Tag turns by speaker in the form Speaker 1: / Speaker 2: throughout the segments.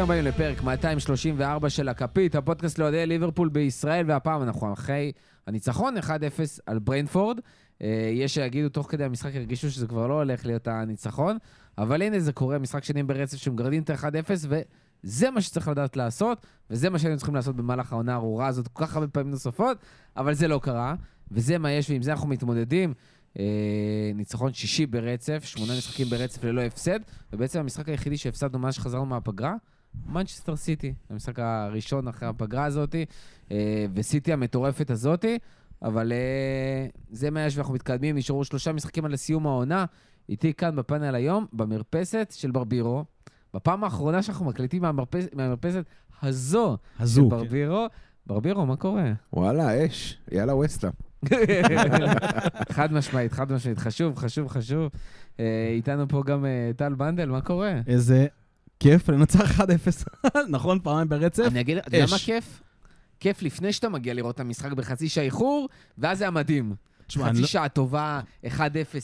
Speaker 1: הבאים לפרק 234 של הכפית, הפודקאסט לאוהדי ליברפול בישראל, והפעם אנחנו אחרי הניצחון 1-0 על בריינפורד. אה, יש שיגידו, תוך כדי המשחק הרגישו שזה כבר לא הולך להיות הניצחון, אבל הנה זה קורה, משחק שני ברצף שמגרדים את ה-1-0, וזה מה שצריך לדעת לעשות, וזה מה שהיינו צריכים לעשות במהלך העונה הארורה הזאת כל כך הרבה פעמים נוספות, אבל זה לא קרה, וזה מה יש, ועם זה אנחנו מתמודדים. אה, ניצחון שישי ברצף, שמונה משחקים ברצף ללא הפסד, ובעצם המשחק היחידי שהפסדנו מאז שחזרנו מהפגרה, מנצ'סטר סיטי, המשחק הראשון אחרי הפגרה הזאתי, אה, וסיטי המטורפת הזאתי, אבל אה, זה מה יש ואנחנו מתקדמים, נשארו שלושה משחקים עד לסיום העונה, איתי כאן בפאנל היום, במרפסת של ברבירו. בפעם האחרונה שאנחנו מקליטים מהמרפס, מהמרפסת הזו של
Speaker 2: הזו.
Speaker 1: ברבירו. ברבירו, מה קורה?
Speaker 3: וואלה, אש. יאללה, ווסטה.
Speaker 1: חד משמעית, חד משמעית. חשוב, חשוב, חשוב. אה, איתנו פה גם אה, טל בנדל, מה קורה?
Speaker 2: איזה כיף לנצח 1-0, נכון? פעמיים ברצף?
Speaker 1: אני אגיד, אתה יודע מה
Speaker 2: אש.
Speaker 1: כיף? כיף לפני שאתה מגיע לראות את המשחק בחצי שעה איחור, ואז זה היה מדהים.
Speaker 2: תשמע, אני
Speaker 1: חצי
Speaker 2: לא-
Speaker 1: שעה טובה, 1-0,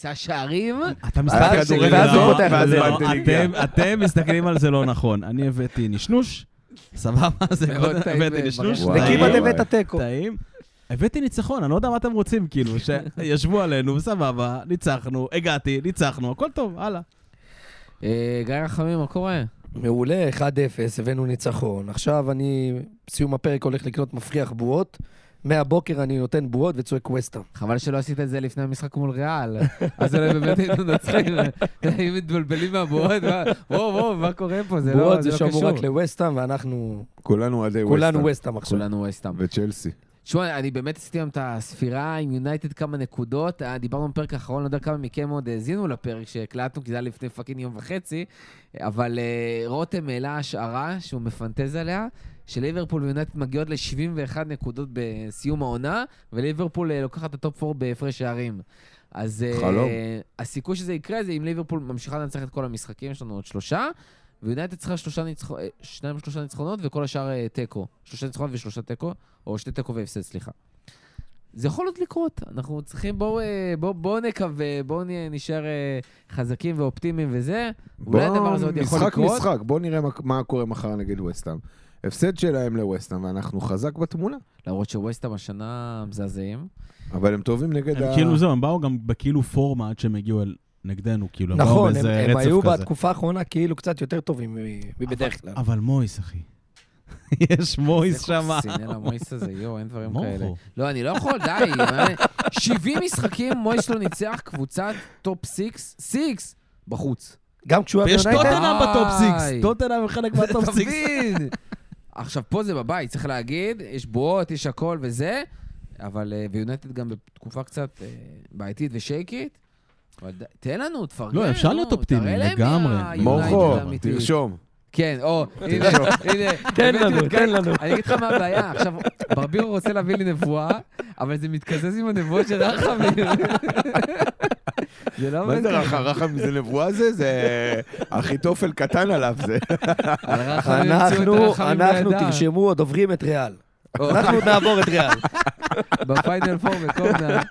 Speaker 1: היה שערים.
Speaker 2: אתה
Speaker 3: אה,
Speaker 2: מסתכל
Speaker 3: כדורגל,
Speaker 2: לא,
Speaker 3: ואז הוא פותח
Speaker 2: לא,
Speaker 3: את זה
Speaker 2: לא,
Speaker 3: באינטליגנציה.
Speaker 2: אתם- אתם מסתכלים על זה לא נכון. אני הבאתי נשנוש, סבבה, זה
Speaker 1: מאוד
Speaker 2: קודם
Speaker 1: טעים אה,
Speaker 2: הבאתי
Speaker 1: ומראה.
Speaker 2: נשנוש,
Speaker 3: וואי,
Speaker 4: וכמעט
Speaker 3: וואי.
Speaker 2: טעים,
Speaker 4: הבאת תיקו.
Speaker 2: טעים. הבאתי ניצחון, אני לא יודע מה אתם רוצים, כאילו, שישבו עלינו, סבבה, ניצחנו, הגעתי, ניצחנו, הכל טוב, הלאה.
Speaker 1: אה, גיא רחמים, מה קורה?
Speaker 4: מעולה, 1-0, הבאנו ניצחון. עכשיו אני, בסיום הפרק הולך לקנות מפריח בועות. מהבוקר אני נותן בועות וצועק ווסטה.
Speaker 1: חבל שלא עשית את זה לפני המשחק מול ריאל. אז אולי באמת היינו מנצחים, היו מתבלבלים מהבועות, מה- וואו, וואו, מה קורה פה? זה לא
Speaker 4: בועות
Speaker 1: זה
Speaker 4: זה
Speaker 1: לא
Speaker 4: שמור
Speaker 1: קשור.
Speaker 4: רק לווסטהאם, ואנחנו
Speaker 3: כולנו עדי ווסטה.
Speaker 4: כולנו ווסטהאם עכשיו.
Speaker 1: כולנו אה, וסתם.
Speaker 3: וצ'לסי.
Speaker 1: תשמע, אני באמת עשיתי היום את הספירה עם יונייטד כמה נקודות. אה, דיברנו בפרק האחרון, לא יודע כמה מכם עוד האזינו לפרק שהקלטנו, כי זה היה לפני פאקינג יום וחצי. אבל אה, רותם העלה השערה שהוא מפנטז עליה, שליברפול ויונייטד מגיעות ל-71 נקודות בסיום העונה, וליברפול אה, לוקחת את הטופ 4 בהפרש שערים. אז אה,
Speaker 3: חלום.
Speaker 1: הסיכוי שזה יקרה זה אם ליברפול ממשיכה לנצח את כל המשחקים, יש לנו עוד שלושה. ויונייטד צריכה שלושה ניצח... אה, שניים או שלושה ניצחונות וכל השאר אה, תיקו. שלושה ניצחונות ושלושה תיקו, או שתי תיקו והפסד, סליחה. זה יכול עוד לקרות, אנחנו צריכים, בואו בוא, בוא נקווה, בואו נשאר אה, חזקים ואופטימיים וזה. אולי
Speaker 3: בוא,
Speaker 1: הדבר הזה עוד יכול לקרות.
Speaker 3: משחק, משחק, בואו נראה מה- מה קורה מחר נגד ווסטהאם. הפסד שלהם לווסטהאם, ואנחנו חזק בתמונה.
Speaker 1: למרות שווסטהאם השנה מזעזעים.
Speaker 3: אבל הם טובים נגד ה...
Speaker 2: הם כאילו זהו, הם באו גם בכאילו פורמה עד שהם הגיעו אל- נגדנו, כאילו, הם באו
Speaker 4: נכון, הם-
Speaker 2: באיזה
Speaker 4: הם היו
Speaker 2: רצף כזה.
Speaker 4: בתקופה האחרונה כאילו קצת יותר טובים מ- מבדרך כלל.
Speaker 2: אבל מויס, אחי. יש מויס
Speaker 1: זה
Speaker 2: שמה.
Speaker 1: קוקסין, אין המויס הזה, יואו, אין דברים כאלה.
Speaker 2: מורכו.
Speaker 1: לא, אני לא יכול, די. מה- 70 משחקים, מויס לא ניצח, קבוצת טופ 6, 6, בחוץ.
Speaker 4: גם כשהוא היה
Speaker 2: ויש
Speaker 4: ביונייטד,
Speaker 2: טוטנאם בטופ
Speaker 1: די.
Speaker 2: סיקס. טוטנאם הם חלק מהטופ
Speaker 1: אתה
Speaker 2: סיקס.
Speaker 1: מבין? עכשיו, פה זה בבית, צריך להגיד, יש בועות, יש הכל וזה, אבל אה, ויונייטד גם בתקופה קצת אה, בעייתית ושייקית. אבל די- תן לנו, תפרגן.
Speaker 2: לא, אפשר להיות
Speaker 1: נו,
Speaker 2: אופטימיים
Speaker 1: תראה להם
Speaker 2: לגמרי.
Speaker 1: מי ה-
Speaker 3: מורכו,
Speaker 1: United האמיתית.
Speaker 3: תרשום.
Speaker 1: כן, או, הנה, הנה.
Speaker 4: תן
Speaker 1: הבאתי
Speaker 4: לנו,
Speaker 1: את
Speaker 4: תן
Speaker 1: גיא.
Speaker 4: לנו.
Speaker 1: אני אגיד לך מה הבעיה, עכשיו, ברבירו רוצה להביא לי נבואה, אבל זה מתקזז עם הנבואות של רחמים. זה לא
Speaker 3: מה
Speaker 1: עובד
Speaker 3: זה
Speaker 1: ככה.
Speaker 3: רחם? רחם זה נבואה זה? זה אחיתופל קטן עליו זה.
Speaker 1: על רחמים המציאו את
Speaker 4: אנחנו,
Speaker 1: הרחמים
Speaker 4: אנחנו,
Speaker 1: לידה.
Speaker 4: תרשמו, עוד עוברים את ריאל.
Speaker 1: או,
Speaker 4: אנחנו עוד נעבור את ריאל.
Speaker 1: בפיינל פור בקובנה.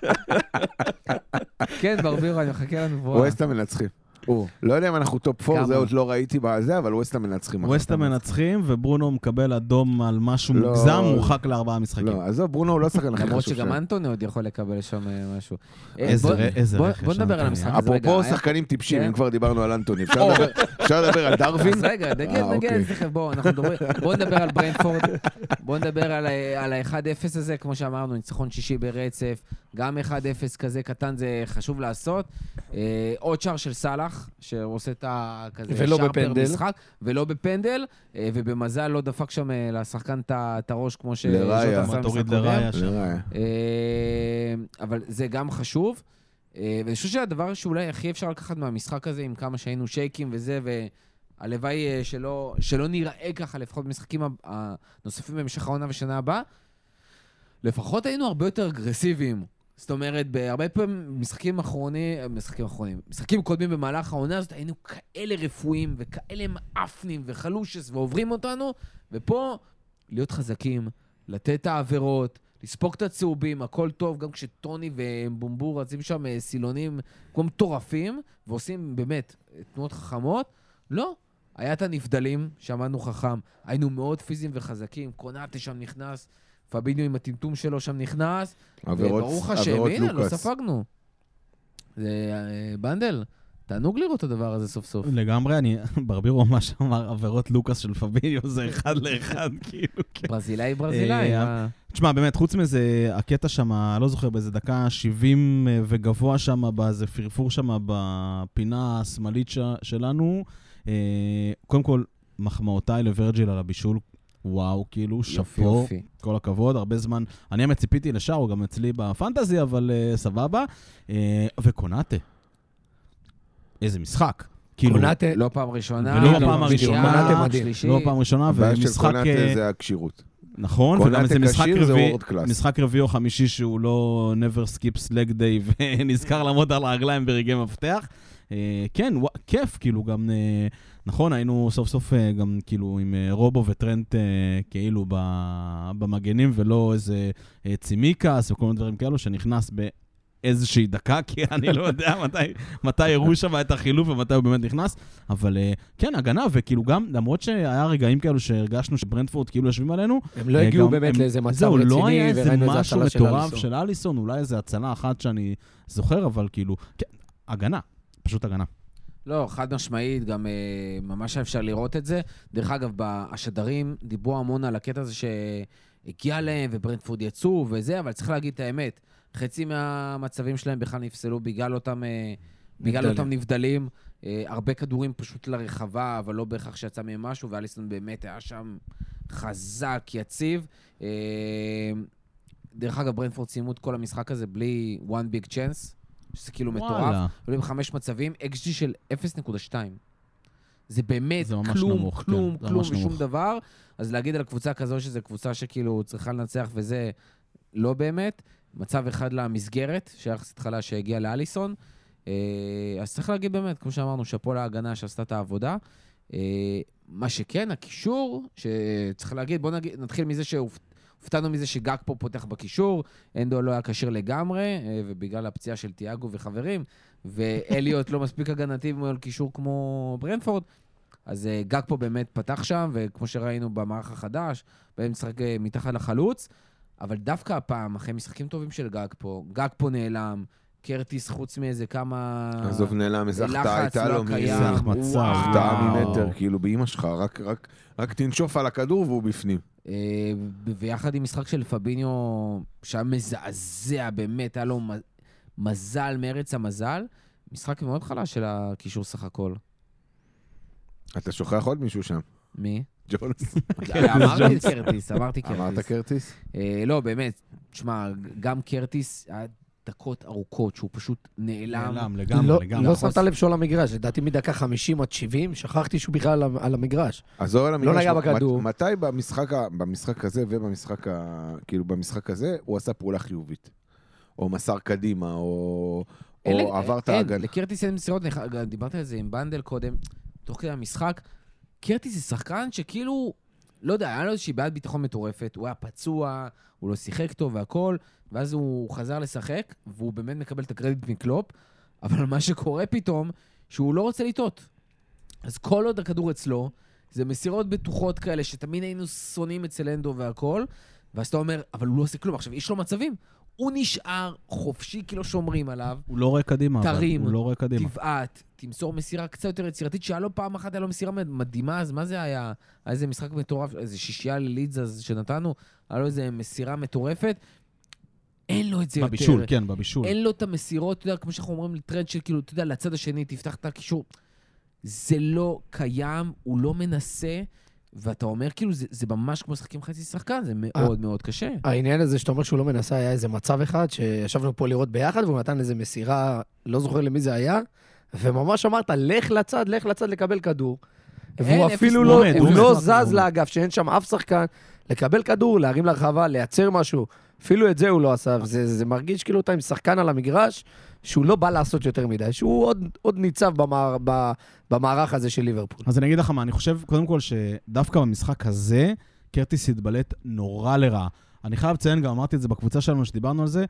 Speaker 1: כן, ברבירו, אני מחכה לנבואה.
Speaker 3: ווסטהאם מנצחים.
Speaker 1: או.
Speaker 3: לא יודע אם אנחנו טופ 4, זה
Speaker 1: כמה?
Speaker 3: עוד לא ראיתי בזה, אבל ווסטהאם מנצחים. מחר.
Speaker 2: ווסטה מנצחים, וברונו מקבל אדום על משהו
Speaker 3: לא.
Speaker 2: מוגזם, מורחק לארבעה משחקים.
Speaker 3: לא, עזוב, ברונו הוא לא השחקן הכי
Speaker 1: למרות
Speaker 3: חשוב
Speaker 1: שגם
Speaker 3: שלהם.
Speaker 1: אנטוני עוד יכול לקבל שם אה, משהו. אה,
Speaker 2: איזה
Speaker 1: בוא-
Speaker 2: ר- איזה
Speaker 1: בוא-
Speaker 2: רכש
Speaker 1: בוא נדבר על
Speaker 2: אנטוני,
Speaker 1: המשחק
Speaker 2: אה?
Speaker 1: הזה. רגע,
Speaker 3: אפרופו
Speaker 1: היה-
Speaker 3: שחקנים טיפשים,
Speaker 1: כן.
Speaker 3: אם כבר דיברנו על אנטוני, אפשר לדבר- אפשר לדבר על דרווין?
Speaker 1: אז רגע, נגיד, נגיד,
Speaker 3: אה, אוקיי.
Speaker 1: תכף בואו, אנחנו מדברים, בואו נדבר על ברנפורד, בואו נדבר על ה-1-0 הזה, כמו שאמרנו, ניצחון שישי ברצף, גם 1-0 כזה קטן זה חשוב לעשות. אה, עוד שער של סאלח, שעושה את ה... כזה
Speaker 4: ולא
Speaker 1: שער פר
Speaker 4: בפנדל.
Speaker 1: משחק, ולא בפנדל, אה, ובמזל לא דפק שם אה, לשחקן את ה- את הראש כמו ש...
Speaker 3: לראיה.
Speaker 1: ז'וטה עשה
Speaker 2: מה
Speaker 1: במשחק
Speaker 2: תוריד
Speaker 1: הקודם.
Speaker 2: לראיה שם.
Speaker 3: נראה.
Speaker 1: אה, אבל זה גם חשוב. אה, ואני חושב שהדבר שאולי הכי אפשר לקחת מהמשחק הזה, עם כמה שהיינו שייקים וזה, והלוואי אה, שלא, שלא ניראה ככה, לפחות במשחקים הב- הנוספים בהמשך העונה ושנה הבאה, לפחות היינו הרבה יותר אגרסיביים. זאת אומרת, בהרבה פעמים משחקים אחרונים, משחקים אחרונים, משחקים קודמים במהלך העונה הזאת, היינו כאלה רפואיים וכאלה מאפנים וחלושס ועוברים אותנו, ופה להיות חזקים, לתת את העבירות, לספוג את הצהובים, הכל טוב, גם כשטוני ובומבור רצים שם אה, סילונים כמו מטורפים, ועושים באמת אה, תנועות חכמות, לא. היה את הנבדלים, שמענו חכם, היינו מאוד פיזיים וחזקים, קונאטה שם נכנס, פביניו עם הטמטום שלו שם נכנס,
Speaker 3: עבירות
Speaker 1: וברוך השם,
Speaker 3: עבירות
Speaker 1: הנה, לא
Speaker 3: לוקאס.
Speaker 1: ספגנו. זה אה, בנדל, תענוג לראות את הדבר הזה סוף סוף.
Speaker 2: לגמרי, אני, ברבירו ממש אמר עבירות לוקאס של פביניו זה אחד לאחד, כאילו, כן.
Speaker 1: ברזילאי ברזילאי.
Speaker 2: אה,
Speaker 1: מה?
Speaker 2: תשמע, באמת, חוץ מזה, הקטע שם, לא זוכר באיזה דקה, 70 אה, וגבוה שם, באיזה פרפור שם בפינה השמאלית ש- שלנו. אה, קודם כל, מחמאותיי לוורג'יל על הבישול. וואו, כאילו,
Speaker 1: יופי,
Speaker 2: שאפו,
Speaker 1: יופי.
Speaker 2: כל הכבוד, הרבה זמן. אני האמת ציפיתי לשער, הוא גם אצלי בפנטזי, אבל אה, סבבה. אה, וקונאטה. איזה משחק. כאילו,
Speaker 4: קונאטה,
Speaker 1: לא פעם ראשונה,
Speaker 2: ולא
Speaker 1: גם
Speaker 2: בפעם הראשונה.
Speaker 1: שנייה,
Speaker 4: קונאטה מדהים.
Speaker 1: שלישית.
Speaker 2: לא פעם ראשונה,
Speaker 3: הבעיה של
Speaker 2: ומשחק...
Speaker 3: קונאטה
Speaker 2: אה,
Speaker 3: זה הכשירות.
Speaker 2: נכון,
Speaker 3: קונאטה
Speaker 2: וגם איזה משחק
Speaker 3: כשיר זה
Speaker 2: רביעי,
Speaker 3: וורד קלאס.
Speaker 2: משחק רביעי או חמישי שהוא לא never skips leg day ונזכר לעמוד על הרגליים ברגעי מפתח. אה, כן, ווא, כיף, כאילו גם, אה, נכון, היינו סוף סוף אה, גם כאילו עם אה, רובו וטרנט אה, כאילו ב- במגנים ולא איזה אה, צימיקס וכל מיני דברים כאלו שנכנס ב... איזושהי דקה, כי אני לא יודע מתי, מתי הראו שם את החילוף ומתי הוא באמת נכנס, אבל אה, כן, הגנה, וכאילו גם, למרות שהיה רגעים כאלו שהרגשנו שברנדפורד כאילו יושבים עלינו,
Speaker 4: הם לא הגיעו
Speaker 2: גם-
Speaker 4: באמת
Speaker 2: הם-
Speaker 4: לאיזה מצב
Speaker 2: זהו, לא היה
Speaker 4: רציני,
Speaker 2: איזה
Speaker 4: וראינו איזה
Speaker 2: משהו
Speaker 4: הצלה של
Speaker 2: מטורף
Speaker 4: אליסון.
Speaker 2: של אליסון, אולי איזה הצלה אחת שאני זוכר, אבל כאילו, כן, הגנה, פשוט הגנה.
Speaker 1: לא, חד משמעית, גם אה, ממש היה אפשר לראות את זה. דרך אגב, ב- השדרים דיברו המון על הקטע הזה שהגיע להם, וברנדפורד יצאו וזה, אבל צריך להגיד את האמת, חצי מהמצבים שלהם בכלל נפסלו בגלל אותם, אה, בגלל
Speaker 4: נבדלים.
Speaker 1: אותם נבדלים. אה, הרבה כדורים פשוט לרחבה, אבל לא בהכרח שיצא מהם משהו, ואליסון באמת היה שם חזק, יציב. אה, דרך אגב, ברנדפורד סיימו את כל המשחק הזה בלי one big chance, שזה כאילו מטורף.
Speaker 2: וואלה.
Speaker 1: עולים בחמש מצבים, XG של 0.2. זה באמת
Speaker 2: זה ממש
Speaker 1: כלום,
Speaker 2: נמוך,
Speaker 1: כלום,
Speaker 2: כן, זה
Speaker 1: כלום
Speaker 2: ממש
Speaker 1: ושום
Speaker 2: נמוך.
Speaker 1: דבר. אז להגיד על קבוצה כזו שזו קבוצה שכאילו צריכה לנצח וזה לא באמת. מצב אחד למסגרת, שייך התחלה שהגיעה לאליסון. אה, אז צריך להגיד באמת, כמו שאמרנו, שאפו להגנה שעשתה את העבודה. אה, מה שכן, הקישור, שצריך להגיד, בואו נגיד, נתחיל מזה שהופתענו מזה שגג פה פותח בקישור, אנדו לא היה כשיר לגמרי, אה, ובגלל הפציעה של תיאגו וחברים, ואליוט לא מספיק הגנתי מול קישור כמו ברנפורד, אז אה, גג פה באמת פתח שם, וכמו שראינו במערך החדש, בהם משחק אה, מתחת לחלוץ, אבל דווקא הפעם, אחרי משחקים טובים של גג פה, גג פה נעלם, קרטיס חוץ מאיזה כמה...
Speaker 3: עזוב, נעלם, איזה
Speaker 1: אה, לחץ
Speaker 3: החטאה הייתה
Speaker 1: לא
Speaker 3: לו
Speaker 1: קיים.
Speaker 3: מאיזה
Speaker 2: איזה החמצה,
Speaker 1: וואו.
Speaker 3: החטאה
Speaker 2: וואו.
Speaker 3: ממטר, כאילו, באימא שלך, רק- רק- רק תנשוף על הכדור והוא בפנים.
Speaker 1: אה, ב- ויחד עם משחק של פביניו, שהיה מזעזע באמת, היה לו מ- מזל מארץ המזל, משחק מאוד חלש של הקישור סך הכל.
Speaker 3: אתה שוכח עוד מישהו שם,
Speaker 1: מי?
Speaker 3: ג'ונס.
Speaker 1: אמרתי קרטיס, אמרתי
Speaker 3: אמרת
Speaker 1: קרטיס.
Speaker 3: קרטיס?
Speaker 1: אה, לא, באמת, שמע, גם קרטיס, היה דקות ארוכות שהוא פשוט נעלם.
Speaker 2: נעלם,
Speaker 4: לא-
Speaker 2: לגמרי, לגמרי.
Speaker 4: לא
Speaker 1: נכון.
Speaker 4: שמת לב שהוא על המגרש, לדעתי מדקה 50 עד 70, שכחתי שהוא בכלל על- על המגרש.
Speaker 3: עזוב
Speaker 1: לא
Speaker 3: על המגרש.
Speaker 4: נגע
Speaker 3: מת-
Speaker 4: בכדור.
Speaker 3: מתי במשחק ה- במשחק הזה ובמשחק ה... כאילו, במשחק הזה, הוא עשה פעולה חיובית. או מסר קדימה, או...
Speaker 1: אין לי-
Speaker 3: או עבר את
Speaker 1: אין,
Speaker 3: ההגנה.
Speaker 1: לקרטיס אין מסירות, נח- גם דיברתי על זה עם בנדל קודם, תוך כדי המשחק. קרטיס זה שחקן שכאילו, לא יודע, היה לו איזושהי בעיית ביטחון מטורפת, הוא היה פצוע, הוא לא שיחק טוב והכל, ואז הוא חזר לשחק, והוא באמת מקבל את הקרדיט מקלופ, אבל מה שקורה פתאום, שהוא לא רוצה לטעות. אז כל עוד הכדור אצלו, זה מסירות בטוחות כאלה, שתמיד היינו שונאים אצל אנדו והכל, ואז אתה אומר, אבל הוא לא עושה כלום. עכשיו, יש לו מצבים. הוא נשאר חופשי כי לא שומרים עליו,
Speaker 2: הוא לא רואה קדימה, אבל
Speaker 1: טרים,
Speaker 2: הוא לא רואה קדימה.
Speaker 1: תבעט, תמסור מסירה קצת יותר יצירתית, שהיה לו פעם אחת, היה לו מסירה מדהימה, אז מה זה היה? היה איזה משחק מטורף, איזה שישייה ללידס אז שנתנו, היה לו איזה מסירה מטורפת. אין לו את זה יותר.
Speaker 2: בבישול, כן, בבישול.
Speaker 1: אין לו את המסירות, אתה יודע, כמו שאנחנו אומרים לטרנד של כאילו, אתה יודע, לצד השני, תפתח את הקישור. זה לא קיים, הוא לא מנסה, ואתה אומר, כאילו, זה, זה ממש כמו לשחק עם חצי שחקן,
Speaker 2: אה.
Speaker 1: זה מאוד מאוד קשה.
Speaker 4: העניין הזה שאתה אומר שהוא לא מנסה, היה איזה מצב אחד שישבנו פה לראות ביחד, והוא נתן איזה מסירה, לא זוכר למי זה היה, וממש אמרת, לך לצד, לך לצד לקבל כדור.
Speaker 1: אין,
Speaker 4: והוא
Speaker 1: אפס
Speaker 4: אפילו
Speaker 2: הוא
Speaker 4: לא,
Speaker 2: עומד,
Speaker 4: הוא
Speaker 2: הוא
Speaker 4: לא
Speaker 2: עומד.
Speaker 4: זז
Speaker 2: הוא-
Speaker 4: לאגף, שאין שם אף שחקן, לקבל כדור, להרים לרחבה, לייצר משהו. אפילו את זה הוא לא עשה, זה, זה מרגיש כאילו אתה עם שחקן על המגרש, שהוא לא בא לעשות יותר מדי, שהוא עוד, עוד ניצב במער, ב, במערך הזה של ליברפול.
Speaker 2: אז אני אגיד לך מה, אני חושב, קודם כל, שדווקא במשחק הזה, קרטיס התבלט נורא לרעה. אני חייב לציין, גם אמרתי את זה בקבוצה שלנו, שדיברנו על זה,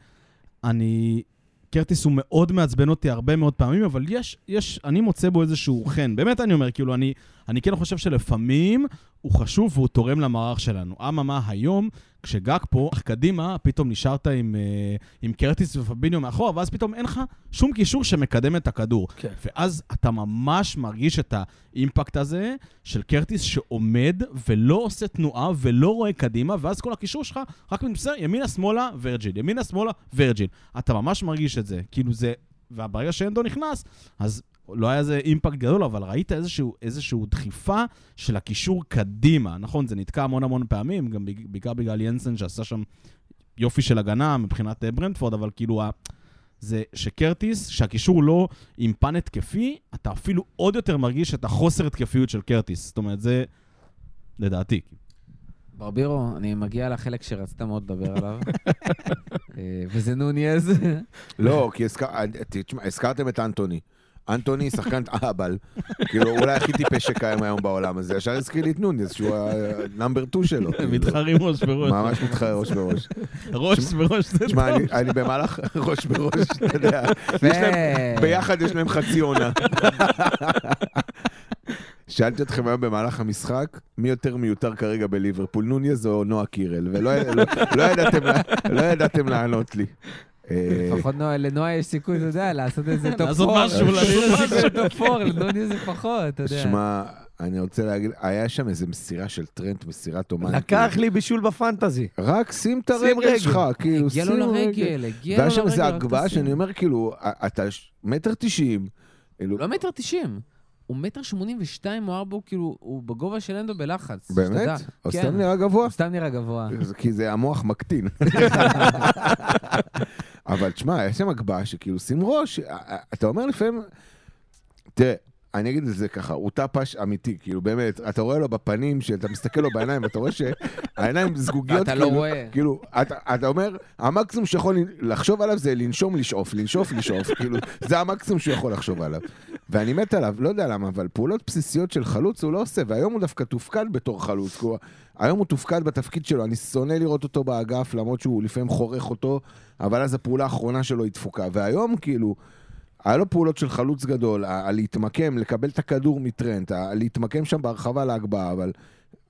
Speaker 2: אני קרטיס הוא מאוד מעצבן אותי הרבה מאוד פעמים, אבל יש, יש, אני מוצא בו איזשהו חן. באמת אני אומר, כאילו, אני, אני כן חושב שלפעמים הוא חשוב והוא תורם למערך שלנו. אממה, היום, כשגג פה, אך קדימה, פתאום נשארת עם, אה, עם קרטיס ופביניו מאחורה, ואז פתאום אין לך שום קישור שמקדם את הכדור.
Speaker 4: כן.
Speaker 2: ואז אתה ממש מרגיש את האימפקט הזה של קרטיס שעומד ולא עושה תנועה ולא רואה קדימה, ואז כל הקישור שלך רק מתבשר ימינה-שמאלה, ורג'יל, ימינה-שמאלה, ורג'יל. אתה ממש מרגיש את זה. כאילו זה... וברגע שאנדו נכנס, אז לא היה איזה אימפקט גדול, אבל ראית איזשהו, איזשהו דחיפה של הקישור קדימה. נכון, זה נתקע המון המון פעמים, גם בג- בעיקר בגלל ינסן שעשה שם יופי של הגנה מבחינת אה, ברנדפורד, אבל כאילו ה... זה שקרטיס, שהקישור לא עם פן התקפי, אתה אפילו עוד יותר מרגיש את החוסר התקפיות של קרטיס. זאת אומרת, זה לדעתי.
Speaker 1: ברבירו, אני מגיע לחלק שרצית מאוד לדבר עליו, אה, וזה נוניז.
Speaker 3: לא, כי הזכר- תשמע, הזכרתם את אנטוני. אנטוני שחקן אהבל, כאילו אולי הכי טיפש שקיים היום בעולם הזה, ישר הזכיר לי את נוניס, שהוא הנאמבר 2 שלו. כאילו.
Speaker 2: מתחרים ראש בראש.
Speaker 3: ממש מתחרה ראש בראש.
Speaker 2: ראש בראש זה טוב.
Speaker 3: תשמע, אני- אני במהלך ראש בראש, אתה יודע, יש להם-
Speaker 1: ו-
Speaker 3: ביחד יש להם חצי עונה. שאלתי אתכם היום במהלך המשחק, מי יותר מיותר כרגע בליברפול, נוניז או נועה קירל? ולא לא- לא ידעתם לה- לא ידעתם לענות לי. אה,
Speaker 1: לפחות נועה- לנועה יש סיכוי, אתה יודע, לעשות איזה טופ
Speaker 2: לעשות משהו, לעשות
Speaker 1: לעשות טופ פור, לנוניז זה פחות, אתה יודע.
Speaker 3: שמע, אני רוצה להגיד, היה שם איזו מסירה של טרנט, מסירת אומן.
Speaker 4: לקח לי בישול בפנטזי.
Speaker 3: כאילו, רק שים את
Speaker 4: שים
Speaker 3: הרגל
Speaker 4: רגל.
Speaker 3: שלך, כאילו,
Speaker 1: הגיע
Speaker 3: שים
Speaker 1: לו
Speaker 3: רגל.
Speaker 1: לרגל, הגיע לו לרגל.
Speaker 3: והיה שם איזו
Speaker 1: רק
Speaker 3: הגבהה
Speaker 1: תשים.
Speaker 3: שאני אומר, כאילו, א- אתה ש- מטר תשעים. כאילו,
Speaker 1: הוא לא מטר תשעים, הוא מטר שמונים ושתיים או ארבע, כאילו, הוא בגובה של אנדו בלחץ.
Speaker 3: באמת?
Speaker 1: שתדע.
Speaker 3: אז
Speaker 1: כן.
Speaker 3: סתם נראה גבוה.
Speaker 1: הוא סתם נראה גבוה.
Speaker 3: זה- כי זה המוח מקטין. אבל תשמע, יש שם הגבהה שכאילו שים ראש, א- א- אתה אומר לפעמים, תראה, אני אגיד את זה ככה, הוא טפש אמיתי, כאילו באמת, אתה רואה לו בפנים, שאתה מסתכל לו בעיניים, אתה רואה שהעיניים זגוגיות,
Speaker 1: אתה לא
Speaker 3: כאילו,
Speaker 1: רואה.
Speaker 3: כאילו, אתה, אתה אומר, המקסימום שיכול לחשוב עליו זה לנשום, לשאוף, לנשוף, לשאוף, כאילו, זה המקסימום שהוא יכול לחשוב עליו. ואני מת עליו, לא יודע למה, אבל פעולות בסיסיות של חלוץ הוא לא עושה, והיום הוא דווקא תופקד בתור חלוץ, כי הוא, היום הוא תופקד בתפקיד שלו, אני שונא לראות אותו באגף, למרות שהוא לפעמים חורך אותו, אבל אז הפעולה האחרונה שלו היא תפוקה, והיום כאילו... היה לו פעולות של חלוץ גדול, ה- ה- להתמקם, לקבל את הכדור מטרנט, ה- להתמקם שם בהרחבה להגבהה, אבל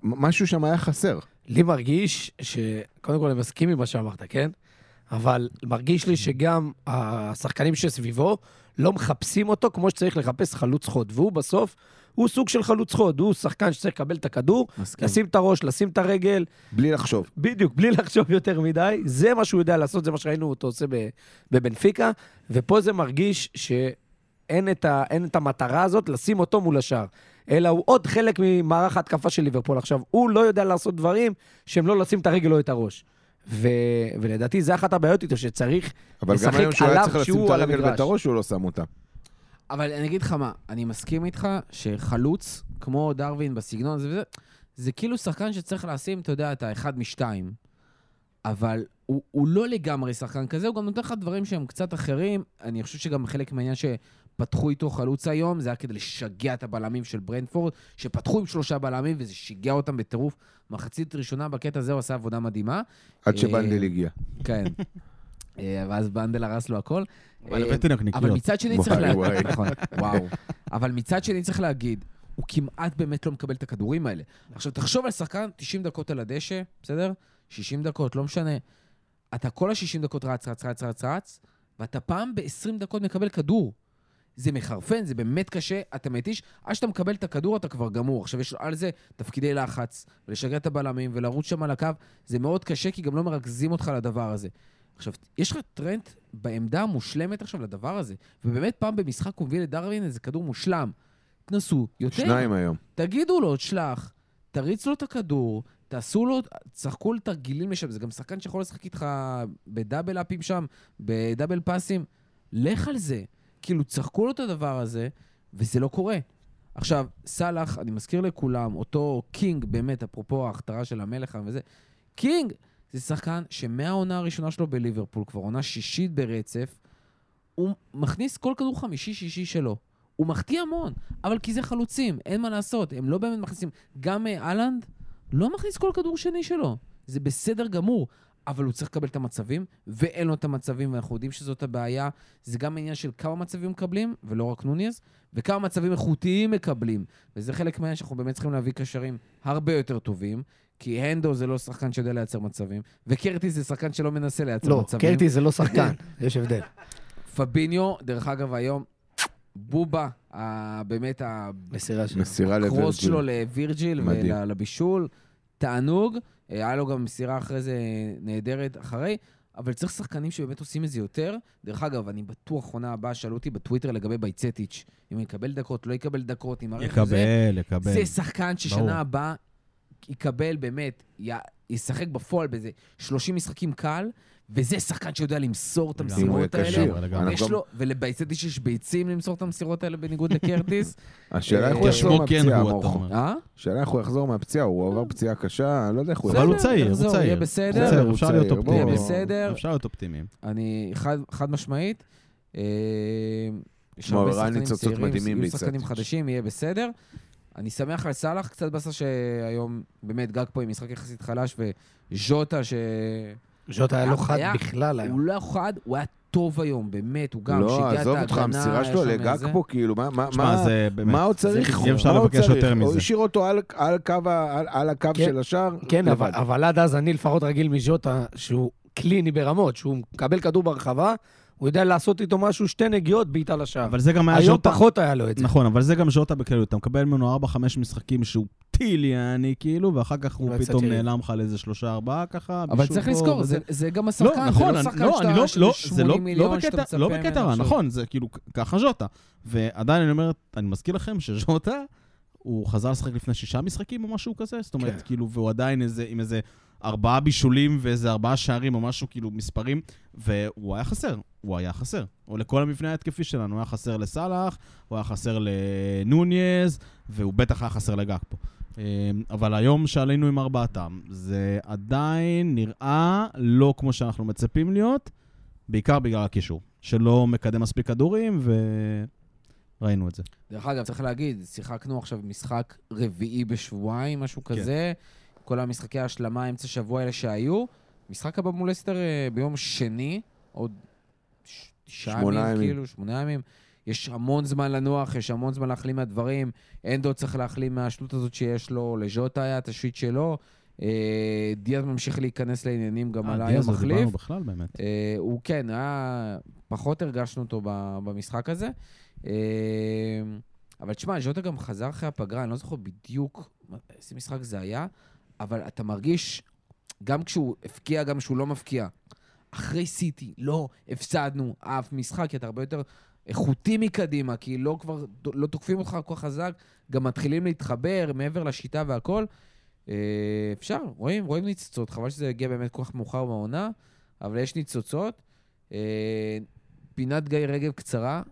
Speaker 3: מ- משהו שם היה חסר.
Speaker 4: לי מרגיש ש... קודם כל, אני מסכים עם מה שאמרת, כן? אבל מרגיש לי שגם השחקנים שסביבו לא מחפשים אותו כמו שצריך לחפש חלוץ חוד. והוא בסוף, הוא סוג של חלוץ חוד. הוא שחקן שצריך לקבל את הכדור,
Speaker 1: מסכים.
Speaker 4: לשים את הראש, לשים את הרגל,
Speaker 3: בלי לחשוב.
Speaker 4: בדיוק, בלי לחשוב יותר מדי. זה מה שהוא יודע לעשות, זה מה שראינו אותו עושה ב- בבנפיקה. ופה זה מרגיש שאין את, ה... אין את המטרה הזאת לשים אותו מול השאר. אלא הוא עוד חלק ממערך ההתקפה של ליברפול. עכשיו, הוא לא יודע לעשות דברים שהם לא לשים את הרגל או את הראש. ו... ולדעתי זה אחת הבעיות איתו, שצריך
Speaker 3: אבל גם
Speaker 4: לשחק
Speaker 3: היום שהוא היה
Speaker 4: עליו
Speaker 3: צריך לשים
Speaker 4: כשהוא
Speaker 3: את
Speaker 4: על
Speaker 3: הרגל
Speaker 4: המגרש.
Speaker 3: ואת הראש, הוא לא שם אותה.
Speaker 1: אבל אני אגיד לך מה, אני מסכים איתך שחלוץ, כמו דרווין בסגנון הזה וזה, זה כאילו שחקן שצריך לשים, אתה יודע, את האחד משתיים. אבל הוא, הוא לא לגמרי שחקן כזה, הוא גם נותן לך דברים שהם קצת אחרים. אני חושב שגם חלק מהעניין שפתחו איתו חלוץ היום, זה היה כדי לשגע את הבלמים של ברנפורד, שפתחו עם שלושה בלמים וזה שיגע אותם בטירוף. מחצית ראשונה בקטע הזה הוא עשה עבודה מדהימה.
Speaker 3: עד שבנדל הגיע.
Speaker 1: כן. אה, ואז בנדל הרס לו הכל.
Speaker 2: אבל
Speaker 1: אה,
Speaker 2: הבאתי
Speaker 1: אבל
Speaker 2: נקניקיות.
Speaker 1: מצד שני
Speaker 3: וואי,
Speaker 1: צריך
Speaker 3: וואי.
Speaker 1: להגיד, נכון, וואו. אבל מצד שני צריך להגיד, הוא כמעט באמת לא מקבל את הכדורים האלה. עכשיו, תחשוב על שחקן 90 דקות על הדשא, בסדר? 60 דקות, לא משנה. אתה כל ה-60 דקות רץ, רץ, רץ, רץ, רץ, ואתה פעם ב-20 דקות מקבל כדור. זה מחרפן, זה באמת קשה, אתה מתיש. עד שאתה מקבל את הכדור אתה כבר גמור. עכשיו יש לו על זה תפקידי לחץ, ולשגע את הבלמים, ולרוץ שם על הקו. זה מאוד קשה, כי גם לא מרכזים אותך לדבר הזה. עכשיו, יש לך טרנד בעמדה המושלמת עכשיו לדבר הזה, ובאמת פעם במשחק הוא מביא לדרווין איזה כדור מושלם. תנסו יותר.
Speaker 3: שניים היום.
Speaker 1: תגידו לו, תשלח, תריץ לו את הכדור, תעשו לו, תשחקו לתרגילים לשם, זה גם שחקן שיכול לשחק איתך בדאבל אפים שם, בדאבל פאסים. לך על זה. כאילו, צחקו לו את הדבר הזה, וזה לא קורה. עכשיו, סאלח, אני מזכיר לכולם, אותו קינג, באמת, אפרופו ההכתרה של המלך וזה, קינג זה שחקן שמהעונה הראשונה שלו בליברפול, כבר עונה שישית ברצף, הוא מכניס כל כדור חמישי-שישי שלו. הוא מחטיא המון, אבל כי זה חלוצים, אין מה לעשות, הם לא באמת מכניסים. גם אה, אהלנד לא מכניס כל כדור שני שלו, זה בסדר גמור, אבל הוא צריך לקבל את המצבים, ואין לו את המצבים, ואנחנו יודעים שזאת הבעיה. זה גם עניין של כמה מצבים מקבלים, ולא רק נוניז, וכמה מצבים איכותיים מקבלים. וזה חלק מהעניין שאנחנו באמת צריכים להביא קשרים הרבה יותר טובים, כי הנדו זה לא שחקן שיודע לייצר מצבים, וקרטיס זה שחקן שלא מנסה לייצר
Speaker 4: לא,
Speaker 1: מצבים.
Speaker 4: קרטי זה לא שחקן, יש הבדל.
Speaker 1: פביניו, דרך אגב, היום, בובה, ה- באמת
Speaker 4: מסירה שלו.
Speaker 3: מסירה
Speaker 1: הקרוס
Speaker 3: לוורג'יל.
Speaker 1: שלו לווירג'יל
Speaker 3: מדהים.
Speaker 1: ולבישול, תענוג. אה, היה לו גם מסירה אחרי זה נהדרת אחרי, אבל צריך שחקנים שבאמת עושים את זה יותר. דרך אגב, אני בטוח, עונה הבאה, שאלו אותי בטוויטר לגבי בייצטיץ', אם הוא יקבל דקות, לא יקבל דקות, אם הרכב זה...
Speaker 2: יקבל, יקבל.
Speaker 1: זה שחקן
Speaker 2: ברור.
Speaker 1: ששנה הבאה יקבל באמת, י- ישחק בפועל באיזה 30 משחקים קל, וזה שחקן שיודע למסור את
Speaker 2: לגמרי,
Speaker 3: אם הוא
Speaker 1: המסירות
Speaker 3: יהיה
Speaker 1: האלה.
Speaker 3: כשיר.
Speaker 2: לגמרי, לגמרי.
Speaker 3: אנחנו
Speaker 1: יש
Speaker 3: גם-
Speaker 1: לו, ולבייצטיץ' יש ביצים למסור את המסירות האלה בניגוד לקרטיס.
Speaker 3: השאלה איך
Speaker 1: אה,
Speaker 3: הוא יחזור
Speaker 2: כשמו כן
Speaker 3: מהפציעה,
Speaker 2: הוא, אתה
Speaker 3: מורכו.
Speaker 2: אומר.
Speaker 1: אה?
Speaker 3: השאלה איך הוא יחזור מהפציעה, הוא עבר פציעה קשה, אני לא יודע איך הוא
Speaker 2: אבל
Speaker 3: יחזור.
Speaker 2: הוא צעיר, הוא
Speaker 1: יחזור,
Speaker 2: צעיר.
Speaker 1: יהיה
Speaker 2: הוא
Speaker 1: בסדר.
Speaker 2: צעיר,
Speaker 3: הוא
Speaker 2: אפשר להיות
Speaker 3: צעיר,
Speaker 2: אופטימיים.
Speaker 3: בוא.
Speaker 1: יהיה בסדר.
Speaker 2: אפשר להיות אופטימיים.
Speaker 1: אני חד, חד משמעית. אה, יש
Speaker 3: כמו
Speaker 1: הרבה
Speaker 3: ערן
Speaker 1: שחקנים
Speaker 3: ניצוצות
Speaker 1: צעירים,
Speaker 3: מדהימים
Speaker 1: יהיו
Speaker 3: ביצת.
Speaker 1: שחקנים חדשים, יהיה בסדר. אני שמח על סאלח, קצת באסה שהיום באמת גג פה עם משחק יחסית חלש, וז'וטה שהוא
Speaker 4: ז'וטה היה לא חד
Speaker 1: היה-
Speaker 4: בכלל היום.
Speaker 1: לא חד, הוא היה טוב היום, באמת, הוא גם שיגע את
Speaker 3: לא,
Speaker 1: ההגנה.
Speaker 3: עזוב אותך, המסירה
Speaker 1: היה
Speaker 3: שלו
Speaker 1: שם
Speaker 3: לגג
Speaker 1: איזה-
Speaker 3: פה, כאילו, מה- מה-
Speaker 2: תשמע,
Speaker 3: מה...
Speaker 2: זה באמת.
Speaker 3: מה עוד צריך?
Speaker 2: אי אפשר
Speaker 3: מה עוד
Speaker 2: לבקש
Speaker 3: צריך?
Speaker 2: יותר
Speaker 3: הוא
Speaker 2: מזה.
Speaker 3: השאיר אותו על, על קו, ה- על, על הקו
Speaker 4: כן.
Speaker 3: של השער.
Speaker 4: כן,
Speaker 3: לא לבד.
Speaker 4: אבל, אבל עד אז אני לפחות רגיל מז'וטה, שהוא קליני ברמות, שהוא מקבל כדור ברחבה, הוא יודע לעשות איתו משהו, שתי נגיעות בעיטה לשער.
Speaker 2: אבל זה גם היה
Speaker 4: היום
Speaker 2: ז'וטה.
Speaker 4: פחות היה לו את זה.
Speaker 2: נכון, אבל זה גם ז'וטה בכלליות. אתה מקבל ממנו 4-5 משחקים שהוא טיל יעני, כאילו, ואחר כך הוא
Speaker 4: לא
Speaker 2: פתאום
Speaker 4: יצאתי.
Speaker 2: נעלם לך לאיזה שלושה, ארבעה ככה.
Speaker 1: אבל
Speaker 2: בישול
Speaker 1: צריך
Speaker 2: פה,
Speaker 1: לזכור,
Speaker 2: וזה.
Speaker 1: זה- זה גם השחקן,
Speaker 2: לא,
Speaker 1: זה
Speaker 2: נכון,
Speaker 1: לא
Speaker 2: אני-
Speaker 1: שחקן
Speaker 2: לא, אני לא,
Speaker 1: שאתה
Speaker 2: לא,
Speaker 1: של
Speaker 2: זה לא,
Speaker 1: 80
Speaker 2: לא
Speaker 1: מיליון שאתה
Speaker 2: בקטע,
Speaker 1: מצפה
Speaker 2: לא
Speaker 1: ממנו
Speaker 2: בקטע רע,
Speaker 1: עכשיו.
Speaker 2: נכון, זה כאילו, כ- ככה ז'וטה. ועדיין אני אומר, אני מזכיר לכם שז'וטה, הוא חזר לשחק לפני שישה משחקים או משהו כזה, זאת
Speaker 1: כן.
Speaker 2: אומרת, כאילו, והוא עדיין איזה, עם איזה ארבעה בישולים ואיזה ארבעה שערים או משהו, כאילו, מספרים, והוא היה חסר, הוא היה חסר. או לכל המבנה ההתקפי שלנו, הוא היה חסר לסאלח, הוא היה חסר לנוניז, והוא בטח היה חסר לגג פה. אמ, אבל היום שעלינו עם ארבעתם, זה עדיין נראה לא כמו שאנחנו מצפים להיות, בעיקר בגלל הקישור, שלא מקדם מספיק כדורים, וראינו את זה.
Speaker 1: דרך אגב, צריך להגיד, שיחקנו עכשיו משחק רביעי בשבועיים, משהו
Speaker 2: כן.
Speaker 1: כזה. כל המשחקי ההשלמה, אמצע שבוע האלה שהיו. משחק הבא מול אסטר אה, ביום שני, עוד ש- תשעה
Speaker 3: שמונה
Speaker 1: ימים,
Speaker 3: ימים.
Speaker 1: כאילו, שמונה ימים. יש המון זמן לנוח, יש המון זמן להחלים מהדברים. אנדו צריך להחלים מהשטות הזאת שיש לו, לז'וטה היה את השיט שלו. אה, דיאז ממשיך להיכנס לעניינים גם על
Speaker 2: אה, דיאז,
Speaker 1: היום
Speaker 2: לא
Speaker 1: מחליף.
Speaker 2: דיברנו בכלל באמת.
Speaker 1: אה, הוא כן, היה... פחות הרגשנו אותו ב- במשחק הזה. אה, אבל תשמע, ז'וטה גם חזר אחרי הפגרה, אני לא זוכר בדיוק מה- איזה משחק זה היה, אבל אתה מרגיש, גם כשהוא הפקיע, גם כשהוא לא מפקיע. אחרי סיטי, לא הפסדנו אף משחק, כי אתה הרבה יותר איכותי מקדימה, כי לא כבר, לא תוקפים אותך כל כך חזק, גם מתחילים להתחבר מעבר לשיטה והכל. אה, אפשר, רואים, רואים ניצוצות, חבל שזה יגיע באמת כל כך מאוחר בעונה, אבל יש ניצוצות. אה, פינת גיא רגב קצרה,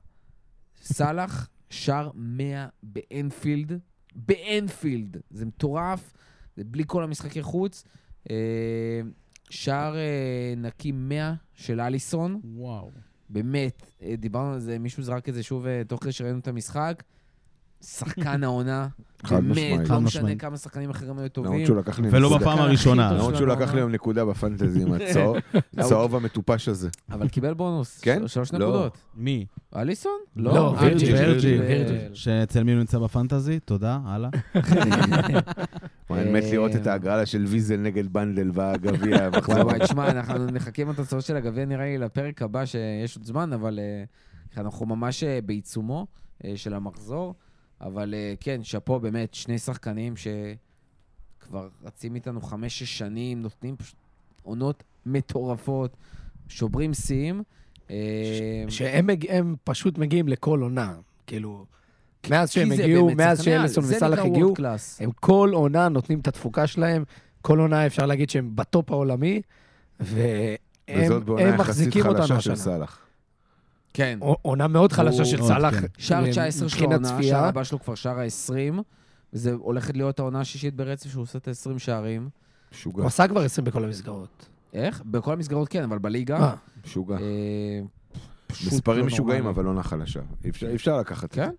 Speaker 1: סאלח שר 100 באנפילד, באנפילד, זה מטורף, זה בלי כל המשחקי חוץ. אה, שער אה, נקי 100 של אליסון,
Speaker 2: וואו.
Speaker 1: באמת, אה, דיברנו על זה, מישהו זרק את זה שוב אה, תוך כדי שראינו את המשחק. שחקן העונה,
Speaker 3: חד
Speaker 1: באמת,
Speaker 3: משמעית.
Speaker 1: לא
Speaker 2: חד
Speaker 1: משנה
Speaker 2: משמעית.
Speaker 1: כמה שחקנים אחרים היו
Speaker 3: למרות
Speaker 1: טובים. לא
Speaker 3: שהוא לקח לי
Speaker 2: ולא
Speaker 3: נקודה.
Speaker 2: בפעם
Speaker 1: הכי
Speaker 2: הראשונה.
Speaker 1: טוב
Speaker 3: למרות
Speaker 1: שלנו
Speaker 3: שהוא לקח לי
Speaker 1: העונה.
Speaker 3: היום נקודה בפנטזי עם הצהוב- הצהוב המטופש הזה.
Speaker 1: אבל קיבל בונוס,
Speaker 3: כן?
Speaker 1: של- שלוש
Speaker 3: לא.
Speaker 1: נקודות.
Speaker 2: מי?
Speaker 1: אליסון?
Speaker 2: לא,
Speaker 1: אה,
Speaker 2: וירג'יל,
Speaker 4: וירג'יל,
Speaker 1: וירג'יל.
Speaker 2: שאצל מי הוא נמצא בפנטזי? תודה, הלאה.
Speaker 3: וואי, אני מת
Speaker 1: אה,
Speaker 3: לראות את ההגרלה של ויזל נגד בנדל והגביע.
Speaker 1: וואי
Speaker 3: המחזור.
Speaker 1: וואי, תשמע, אנחנו נחכים לתוצאות של הגביע, נראה לי, לפרק הבא, שיש עוד זמן, אבל אה, אנחנו ממש אה, בעיצומו אה, של המחזור. אבל אה, כן, שאפו, באמת, שני שחקנים שכבר רצים איתנו חמש-שש שנים, נותנים פשוט עונות מטורפות, שוברים שיאים. אה,
Speaker 4: שהם מג- הם פשוט מגיעים לכל עונה, כאילו, מאז
Speaker 1: כי
Speaker 4: שהם
Speaker 1: זה
Speaker 4: הגיעו,
Speaker 1: באמת
Speaker 4: מאז
Speaker 1: שחקני על,
Speaker 4: שאליסון
Speaker 1: זה
Speaker 4: וסאלח
Speaker 1: נקרא
Speaker 4: הגיעו,
Speaker 1: world class.
Speaker 4: הם כל עונה נותנים את התפוקה שלהם, כל עונה אפשר להגיד שהם בטופ העולמי, והם
Speaker 3: וזאת בעונה
Speaker 4: הם
Speaker 3: יחסית
Speaker 4: מחזיקים אותנו
Speaker 3: חלשה של
Speaker 4: השנה.
Speaker 3: סאלח.
Speaker 1: כן.
Speaker 4: ע- עונה מאוד חלשה
Speaker 1: הוא-
Speaker 4: של
Speaker 2: עוד,
Speaker 4: סאלח. אה,
Speaker 2: כן.
Speaker 1: שער 19 שלו
Speaker 4: מבחינת
Speaker 1: העונה,
Speaker 4: צפייה.
Speaker 1: שער הבא שלו כבר שער ה-20, וזה הולכת להיות העונה השישית ברצף שהוא עושה את ה-20 שערים.
Speaker 3: משוגע,
Speaker 4: הוא עשה כבר 20 בכל המסגרות.
Speaker 1: איך? בכל המסגרות כן, אבל בליגה...
Speaker 4: אה,
Speaker 3: משוגע.
Speaker 1: אה, פשוט
Speaker 3: מספרים
Speaker 1: לא
Speaker 3: משוגעים,
Speaker 1: נורמלי.
Speaker 3: אבל עונה חלשה. אי אפשר- אי אפשר לקחת את זה.
Speaker 1: כן?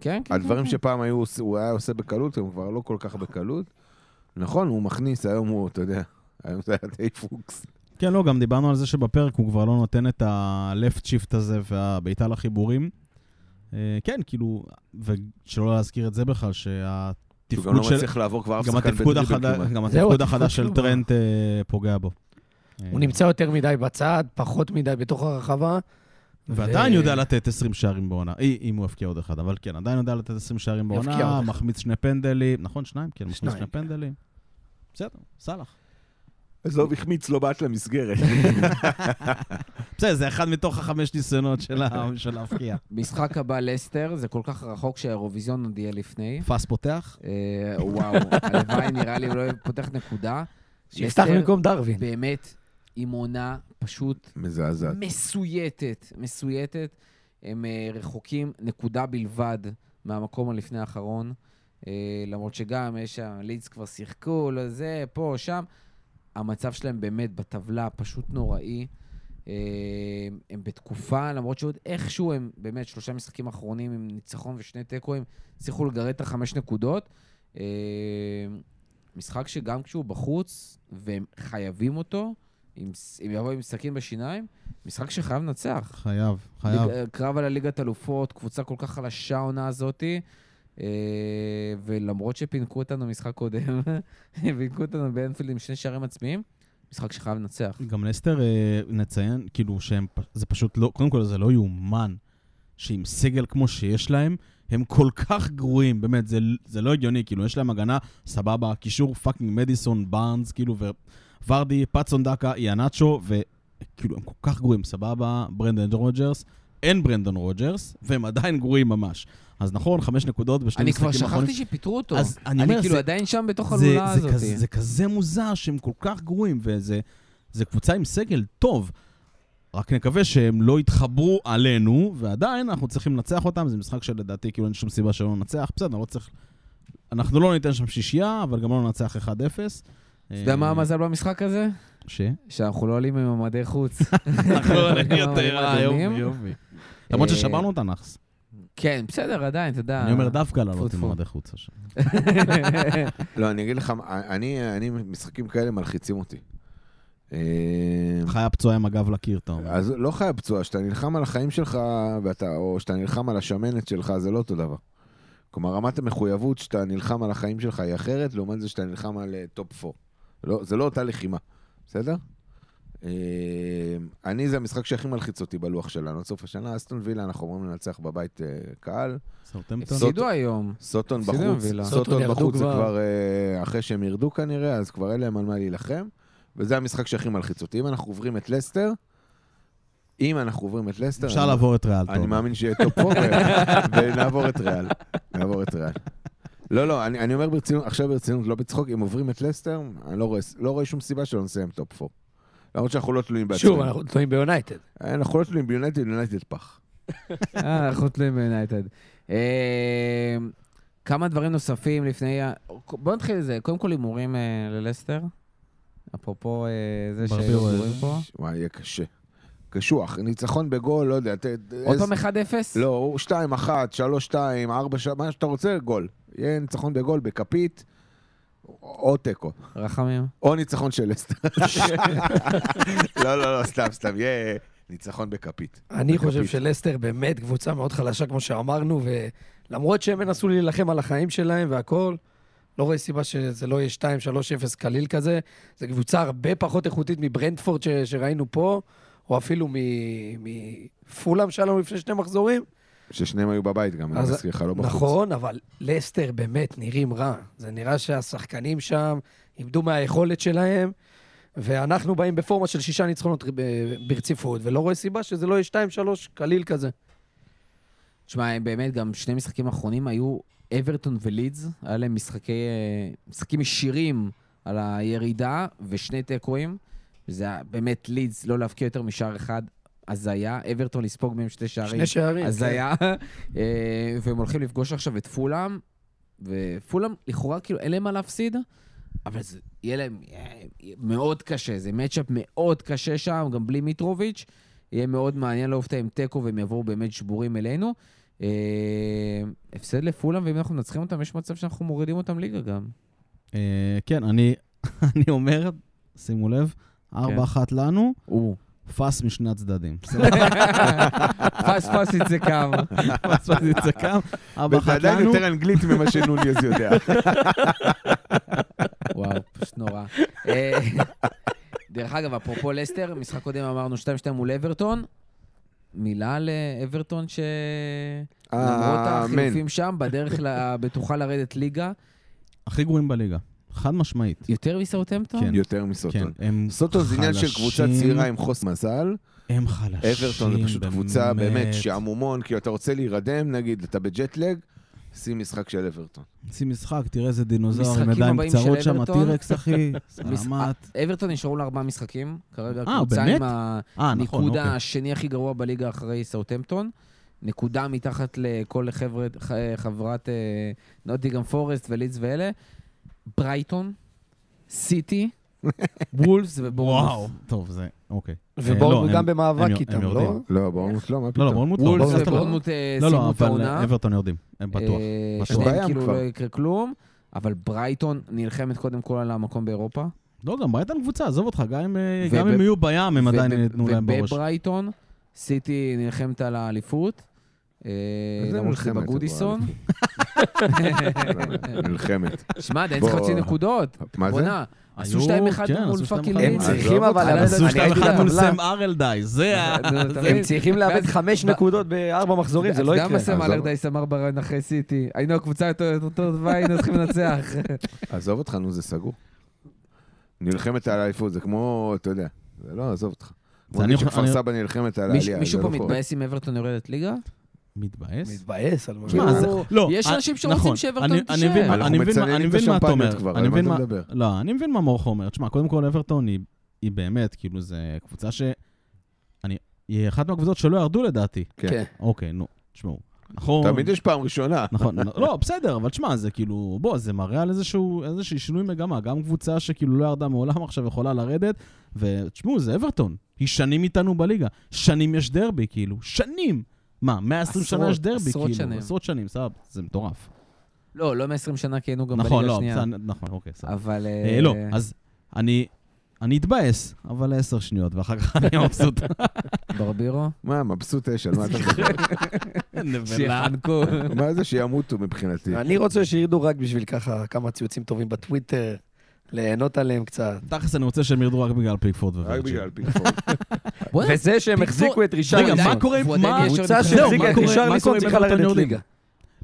Speaker 1: כן, כן.
Speaker 3: הדברים
Speaker 1: כן.
Speaker 3: שפעם היו, עוש- הוא היה עושה בקלות, הם כבר לא כל כך בקלות. נכון, הוא מכניס, היום הוא, אתה יודע, היום זה היה די פוקס.
Speaker 2: כן, לא, גם דיברנו על זה שבפרק הוא כבר לא נותן את ה-left shift הזה והבעיטה לחיבורים. אה, כן, כאילו, ושלא להזכיר את זה בכלל,
Speaker 3: הוא גם לא
Speaker 2: שהתפקוד של...
Speaker 3: מצליח לעבור כבר אף
Speaker 2: גם
Speaker 3: שחקן
Speaker 2: התפקוד
Speaker 3: בדריבל
Speaker 2: החדש-
Speaker 3: כמעט.
Speaker 2: גם
Speaker 4: זהו,
Speaker 2: התפקוד
Speaker 4: התפקוד
Speaker 2: החדש של
Speaker 4: שלו.
Speaker 2: טרנט אה, פוגע בו.
Speaker 4: הוא
Speaker 2: אה,
Speaker 4: נמצא יותר מדי בצד, פחות מדי בתוך הרחבה.
Speaker 2: ועדיין
Speaker 4: ו-
Speaker 2: יודע לתת 20 שערים בעונה, אי- אם הוא יבקיע עוד אחד, אבל כן, עדיין יודע לתת 20 שערים
Speaker 4: יבקיע עוד
Speaker 2: בעונה,
Speaker 4: אחד.
Speaker 2: מחמיץ שני פנדלים, נכון, שניים? כן, מחמיץ
Speaker 4: שניים,
Speaker 2: שני פנדלים. בסדר, סאלח.
Speaker 3: עזוב, החמיץ, לא בעט למסגרת.
Speaker 2: בסדר, זה אחד מתוך החמש ניסיונות של ה- של להבקיע.
Speaker 1: משחק הבא, לסטר, זה כל כך רחוק שהאירוויזיון עוד יהיה לפני.
Speaker 2: פס פותח?
Speaker 1: אה, וואו, הלוואי, נראה לי, הוא לא פותח נקודה.
Speaker 4: שיפתח
Speaker 1: לסטר,
Speaker 4: במקום דרווין.
Speaker 1: באמת, עם עונה פשוט
Speaker 3: מזעזעת.
Speaker 1: מסויטת, מסויטת. הם אה, רחוקים נקודה בלבד מהמקום הלפני האחרון. אה, למרות שגם יש שם, לידס כבר שיחקו, לא זה, פה, שם. המצב שלהם באמת בטבלה פשוט נוראי. אה, הם בתקופה, למרות שעוד איכשהו הם באמת שלושה משחקים אחרונים עם ניצחון ושני תיקואים, הצליחו לגרד את החמש נקודות. אה, משחק שגם כשהוא בחוץ, והם חייבים אותו, אם, ס- אם יבוא עם סכין בשיניים, משחק שחייב לנצח.
Speaker 2: חייב, חייב.
Speaker 1: ליג- אה, קרב על הליגת אלופות, קבוצה כל כך חלשה העונה הזאתי. אה, ולמרות שפינקו אותנו משחק קודם, פינקו אותנו באנפילד עם שני שערים עצמיים, משחק שחייב לנצח.
Speaker 2: גם לסטר, אה, נציין, כאילו, שהם, פ- זה פשוט לא, קודם כל זה לא יאומן, שעם סגל כמו שיש להם, הם כל כך גרועים, באמת, זה, זה לא הגיוני, כאילו, יש להם הגנה, סבבה, קישור פאקינג מדיסון, בארנס, כאילו, וורדי, פאצון דקה, יאנצ'ו, וכאילו, הם כל כך גרועים, סבבה, ברנדן רוג'רס, אין ברנדון רוג'רס, והם עדיין גרועים ממש. אז נכון, חמש נקודות בשני
Speaker 1: אני
Speaker 2: משחקים
Speaker 1: כבר
Speaker 2: האחרונים.
Speaker 1: שכחתי שפיטרו אותו.
Speaker 2: אז אני
Speaker 1: אני
Speaker 2: אומר,
Speaker 1: כאילו
Speaker 2: זה-
Speaker 1: עדיין שם בתוך
Speaker 2: זה-
Speaker 1: הלולה
Speaker 2: זה
Speaker 1: הזאת.
Speaker 2: כזה- זה כזה מוזר שהם כל כך גרועים, וזה זה קבוצה עם סגל טוב. רק נקווה שהם לא יתחברו עלינו, ועדיין אנחנו צריכים לנצח אותם, זה משחק שלדעתי כאילו אין שום סיבה שלא ננצח, בסדר, לא צריך... אנחנו לא ניתן שם שישייה, אבל גם לא ננצח 1-0.
Speaker 1: אתה יודע מה המזל במשחק הזה?
Speaker 2: ש?
Speaker 1: שאנחנו לא עולים עם עמדי חוץ.
Speaker 2: אנחנו
Speaker 1: עולים עם עמדים אדומים.
Speaker 2: יופי.
Speaker 1: אה,
Speaker 2: למרות ששברנו אותה נאחס.
Speaker 1: כן, בסדר, עדיין, אתה יודע.
Speaker 2: אני אומר דווקא לעלות עם
Speaker 1: טפו.
Speaker 2: מועדי חוץ עכשיו.
Speaker 3: לא, אני אגיד לך, אני, אני, משחקים כאלה מלחיצים אותי. אה,
Speaker 2: חיה פצועה עם הגב לקיר, אתה
Speaker 1: אה,
Speaker 2: אומר.
Speaker 3: אז לא חייב פצוע, כשאתה נלחם על החיים שלך, ואתה, או כשאתה נלחם על השמנת שלך, זה לא אותו דבר. כלומר, רמת המחויבות שאתה נלחם על החיים שלך היא אחרת, לעומת זה שאתה נלחם על אה, טופ 4. לא, זה לא אותה לחימה, בסדר? אה, אני, זה המשחק שהכי מלחיץ אותי בלוח שלנו. עד סוף השנה, אסטון וילה, אנחנו אמורים לנצח בבית אה, קהל.
Speaker 1: אה,
Speaker 2: סאוטהמפטון?
Speaker 1: הפסידו היום.
Speaker 3: סוטון
Speaker 1: הפסידו
Speaker 3: בחוץ,
Speaker 1: לווילה.
Speaker 4: סוטון
Speaker 3: סוטון
Speaker 4: ירדו
Speaker 3: בחוץ זה
Speaker 4: כבר.
Speaker 3: כבר אה, אחרי שהם ירדו כנראה, אז כבר אין להם על מה להילחם. וזה המשחק שהכי מלחיץ אותי. אם אנחנו עוברים את לסטר, אם אנחנו עוברים את לסטר,
Speaker 2: אפשר
Speaker 3: אני-
Speaker 2: לעבור את ריאל
Speaker 3: אני
Speaker 2: טוב.
Speaker 3: מאמין שיהיה טופ פור, ונעבור את ריאל. נעבור את ריאל. לא, לא, אני אני אומר ברצינות, עכשיו ברצינות, לא בצחוק, אם עוברים את לסטר, אני לא רואה- לא רואה שום סיבה שלא נסיים טופ פור. למרות שאנחנו לא תלויים בעצמנו.
Speaker 4: שוב, אנחנו תלויים ביונייטד.
Speaker 3: אנחנו לא תלויים ביונייטד, יונייטד פח.
Speaker 1: אה, אנחנו תלויים ביונייטד. אה, כמה דברים נוספים לפני ה... בואו נתחיל את זה. קודם כל הימורים אה, ללסטר. אפרופו אה, זה
Speaker 2: ברבירו,
Speaker 1: שהיו הימורים
Speaker 2: אה,
Speaker 1: פה.
Speaker 3: וואי, יהיה קשה. קשוח, ניצחון בגול, לא יודע. ת-
Speaker 1: עוד
Speaker 3: איזה-
Speaker 1: פעם 1-0?
Speaker 3: לא, הוא 2, 1, 3, 2, 4, 3, מה שאתה רוצה, גול. יהיה ניצחון בגול, בכפית, או תיקו.
Speaker 1: רחמים.
Speaker 3: או ניצחון של אסטר. לא, לא, לא, סתם, סתם, יהיה ניצחון בכפית.
Speaker 4: אני חושב
Speaker 3: בכפית.
Speaker 4: שלסטר באמת קבוצה מאוד חלשה, כמו שאמרנו, ולמרות שהם ינסו להילחם על החיים שלהם והכול, לא רואה סיבה שזה לא יהיה 2-3-0 קליל כזה. זו קבוצה הרבה פחות איכותית מברנדפורד ש- שראינו פה, או אפילו מ- מפולאם שלנו לפני שני מחזורים.
Speaker 3: ששניהם היו בבית גם, אני
Speaker 4: אז-
Speaker 3: מזכיר לך, לא בחוץ.
Speaker 4: נכון, אבל לסטר באמת נראים רע. זה נראה שהשחקנים שם איבדו מהיכולת שלהם, ואנחנו באים בפורמה של שישה ניצחונות ב- ברציפות, ולא רואה סיבה שזה לא יהיה 2-3 קליל כזה.
Speaker 1: תשמע, הם באמת, גם שני משחקים האחרונים היו אברטון ולידס. היה להם משחקי... אה, משחקים ישירים על הירידה, ושני תיקואים. זה היה באמת לידס לא להבקיע יותר משער אחד, הזיה. אברטון לספוג מהם שתי שערים.
Speaker 4: שני
Speaker 2: כן,
Speaker 4: שערים. כן.
Speaker 1: אז היה, אה, והם הולכים לפגוש עכשיו את פולאם, ופולאם לכאורה כאילו אין להם מה להפסיד, אבל זה יהיה להם אה, מאוד קשה, זה מצ'אפ מאוד קשה שם, גם בלי מיטרוביץ', יהיה מאוד מעניין לעוף אותם עם תיקו והם יבואו באמת שבורים אלינו. אה, הפסד לפולאם, ואם אנחנו מנצחים אותם, יש מצב שאנחנו מורידים אותם ליגה גם.
Speaker 2: אה, כן, אני, אני אומר, שימו לב, ארבע אחת לנו,
Speaker 1: הוא.
Speaker 2: פס משני הצדדים.
Speaker 1: פס פס יצא קם.
Speaker 2: פס פס יצא קם, ארבע
Speaker 3: וזה
Speaker 2: אחת
Speaker 3: עדיין
Speaker 2: לנו.
Speaker 3: יותר אנגלית ממה שנוניז יודע.
Speaker 1: וואו, פשוט נורא. אה, דרך אגב, אפרופו לסטר, משחק קודם אמרנו 2-2 מול אברטון. מילה לאברטון ש... למרות
Speaker 3: אה, אמן.
Speaker 1: החילופים שם, בדרך הבטוחה לרדת ליגה,
Speaker 2: הכי גרועים בליגה, חד משמעית.
Speaker 1: יותר מסאוטהמפטון?
Speaker 2: כן.
Speaker 3: יותר
Speaker 2: כן,
Speaker 3: מסוטון.
Speaker 2: הם
Speaker 3: סוטון זה עניין של
Speaker 2: חלשים.
Speaker 3: קבוצה צעירה עם חוס מזל.
Speaker 2: הם חלשים,
Speaker 3: אברטון זה פשוט קבוצה באמת
Speaker 2: באמת.
Speaker 3: שעמומון, כאילו אתה רוצה להירדם, נגיד, אתה בג'טלג, שים משחק של אברטון.
Speaker 2: שים משחק, תראה איזה דינוזאור עם
Speaker 1: המשחקים
Speaker 2: ידיים
Speaker 1: הבאים של
Speaker 2: קצרות שם,
Speaker 1: אברטון.
Speaker 2: הטירקס, אחי.
Speaker 1: מס-
Speaker 2: סלמת.
Speaker 1: אברטון נשארו לה ארבעה משחקים, כרגע
Speaker 2: אה,
Speaker 1: הקבוצה
Speaker 2: באמת?
Speaker 1: עם הניקוד
Speaker 2: אה, נכון, אוקיי.
Speaker 1: השני הכי גרוע בליגה אחרי סאוטהמפטון. נקודה מתחת לכל חבר'ה, ח- חברת אה, נוטיגם פורסט ולידס ואלה. ברייטון, סיטי, וולפס
Speaker 2: וואו.
Speaker 1: ובורנמוס.
Speaker 2: טוב, זה, אוקיי. אה,
Speaker 4: ובורנו
Speaker 2: לא,
Speaker 4: גם
Speaker 2: הם-
Speaker 4: במאבק
Speaker 2: הם יור-
Speaker 4: איתם,
Speaker 2: הם
Speaker 4: לא?
Speaker 2: יורדים.
Speaker 3: לא, בורנות לא, מה
Speaker 2: לא, לא,
Speaker 3: פתאום?
Speaker 2: בורנמוט לא.
Speaker 1: וולפס
Speaker 4: בורנמוס לא.
Speaker 1: ובורנמוט אה,
Speaker 2: לא,
Speaker 1: סיימו
Speaker 2: לא,
Speaker 1: את
Speaker 2: אבל
Speaker 1: העונה.
Speaker 2: אברטון יורדים, הם בטוח.
Speaker 1: אה,
Speaker 2: בטוח.
Speaker 1: שניהם
Speaker 3: בים
Speaker 1: כאילו
Speaker 3: כבר.
Speaker 1: לא יקרה כלום, אבל ברייטון נלחמת קודם כל על המקום באירופה.
Speaker 2: לא, גם ברייטון קבוצה, עזוב אותך, גם אם, אה,
Speaker 1: וב-
Speaker 2: גם אם יהיו בים, הם עדיין
Speaker 1: וב-
Speaker 2: יתנו להם בראש.
Speaker 1: ובברייטון, סיטי נלחמת על האליפות. אה,
Speaker 3: איזה
Speaker 1: למרות שזה
Speaker 3: מלחמת,
Speaker 1: בגודיסון.
Speaker 3: לא, מלחמת.
Speaker 1: שמע, עדיין צריך
Speaker 3: בוא.
Speaker 1: חצי נקודות.
Speaker 3: מה זה?
Speaker 1: בואנה, עשו
Speaker 2: היו-
Speaker 1: 2-1
Speaker 2: כן,
Speaker 1: מול
Speaker 2: עשו
Speaker 1: פאקינג
Speaker 2: 2-1.
Speaker 4: הם
Speaker 1: לידס.
Speaker 3: עזוב
Speaker 4: צריכים
Speaker 3: אותך,
Speaker 4: אבל...
Speaker 1: הם
Speaker 4: לאבד-
Speaker 2: עשו
Speaker 4: אני
Speaker 2: 2-1
Speaker 4: ראיתי את
Speaker 2: מול
Speaker 4: הטבלה.
Speaker 2: סם ארלדייס, זה ה...
Speaker 1: נו, אתה
Speaker 4: הם
Speaker 1: מבין?
Speaker 4: צריכים לאבד
Speaker 1: ואז-
Speaker 4: חמש
Speaker 1: ב-
Speaker 4: נקודות בארבע מחזורים, זה לא
Speaker 1: אתה יודע
Speaker 4: יקרה.
Speaker 1: מה סם
Speaker 3: עזוב.
Speaker 1: אלרדייס אמר ברעיון אחרי סיטי? היינו הקבוצה יותר יותר טובה, היינו צריכים לנצח.
Speaker 3: עזוב אותך, נו, זה סגור. נלחמת על האליפות, זה כמו, אתה יודע, זה לא, עזוב אותך. כמו
Speaker 2: אני-
Speaker 3: נגיד שכפר
Speaker 2: אני-
Speaker 3: סבא נלחמת על
Speaker 1: מיש-
Speaker 3: העלייה.
Speaker 1: מישהו
Speaker 3: זה
Speaker 1: פה
Speaker 4: נכון.
Speaker 3: לא קורה.
Speaker 1: מתבאס אם אברטון יורדת ליגה?
Speaker 2: מתבאס?
Speaker 4: מתבאס על מה.
Speaker 3: תשמע,
Speaker 2: זה-
Speaker 1: הוא-
Speaker 2: לא,
Speaker 1: יש
Speaker 2: אה,
Speaker 1: אנשים שרוצים
Speaker 2: נכון,
Speaker 1: שאברטון
Speaker 2: אני- אני
Speaker 1: תישאר.
Speaker 2: מבין מה-
Speaker 3: אנחנו
Speaker 2: אני מבין מה-
Speaker 3: מצננים
Speaker 2: אני
Speaker 3: את
Speaker 2: מבין מה אתה
Speaker 3: השמפניות
Speaker 2: אומר.
Speaker 3: כבר,
Speaker 2: אני
Speaker 3: על מה
Speaker 2: מבין מה-
Speaker 3: אתה מדבר?
Speaker 2: לא, אני מבין מה מור חומר. תשמע, קודם כל אברטון היא- היא באמת, כאילו, זו קבוצה ש... אני- היא אחת מהקבוצות שלא ירדו לדעתי.
Speaker 3: כן.
Speaker 2: אוקיי, נו, תשמעו. נכון.
Speaker 3: תמיד יש פעם ראשונה.
Speaker 2: נכון, לא, בסדר, אבל תשמע, זה כאילו, בוא, זה מראה על איזשהו, איזשהו שינוי מגמה. גם קבוצה שכאילו לא ירדה מעולם עכשיו יכולה לרדת, ותשמעו, זה אברטון. היא שנים איתנו בליגה. שנים יש דרבי, כאילו. שנים! מה, 120 שנה
Speaker 1: עשרות,
Speaker 2: יש דרבי,
Speaker 1: עשרות
Speaker 2: כאילו.
Speaker 1: שנים.
Speaker 2: עשרות שנים, סבבה, זה מטורף.
Speaker 1: לא, לא מ-20 שנה, כי היינו גם
Speaker 2: נכון,
Speaker 1: בליגה
Speaker 2: לא,
Speaker 1: השנייה.
Speaker 2: בסדר, נכון, אוקיי, סבבה.
Speaker 1: אבל...
Speaker 2: אה, לא, אז אני... אני אתבאס, אבל עשר שניות, ואחר כך אני מבסוט.
Speaker 1: ברבירו?
Speaker 3: מה, מבסוט אש, על מה אתה מדבר?
Speaker 4: כן,
Speaker 2: נבלה.
Speaker 1: שיחנקו.
Speaker 3: מה זה שימותו מבחינתי?
Speaker 4: אני רוצה שירדו רק בשביל ככה כמה ציוצים טובים בטוויטר, ליהנות עליהם קצת.
Speaker 2: תכלס, אני רוצה שהם ירדו רק בגלל פיקפורד
Speaker 3: רק
Speaker 2: וורג'יל.
Speaker 3: בגלל פיקפורד.
Speaker 1: בוא'נה,
Speaker 4: וזה שהם
Speaker 1: פיקפורד-
Speaker 4: החזיקו את
Speaker 2: רגע,
Speaker 4: רישרליסון.
Speaker 2: מה קורה עם...
Speaker 1: והוא עדיין
Speaker 2: מה-
Speaker 1: יש
Speaker 4: קבוצה
Speaker 1: זהו,
Speaker 4: שהחזיקה
Speaker 1: מה
Speaker 4: את
Speaker 1: קורה-
Speaker 2: מה
Speaker 4: רישרליסון
Speaker 2: קורה אם
Speaker 4: צריכה
Speaker 2: אברטון
Speaker 4: לרדת
Speaker 2: יורדים?
Speaker 4: ליגה.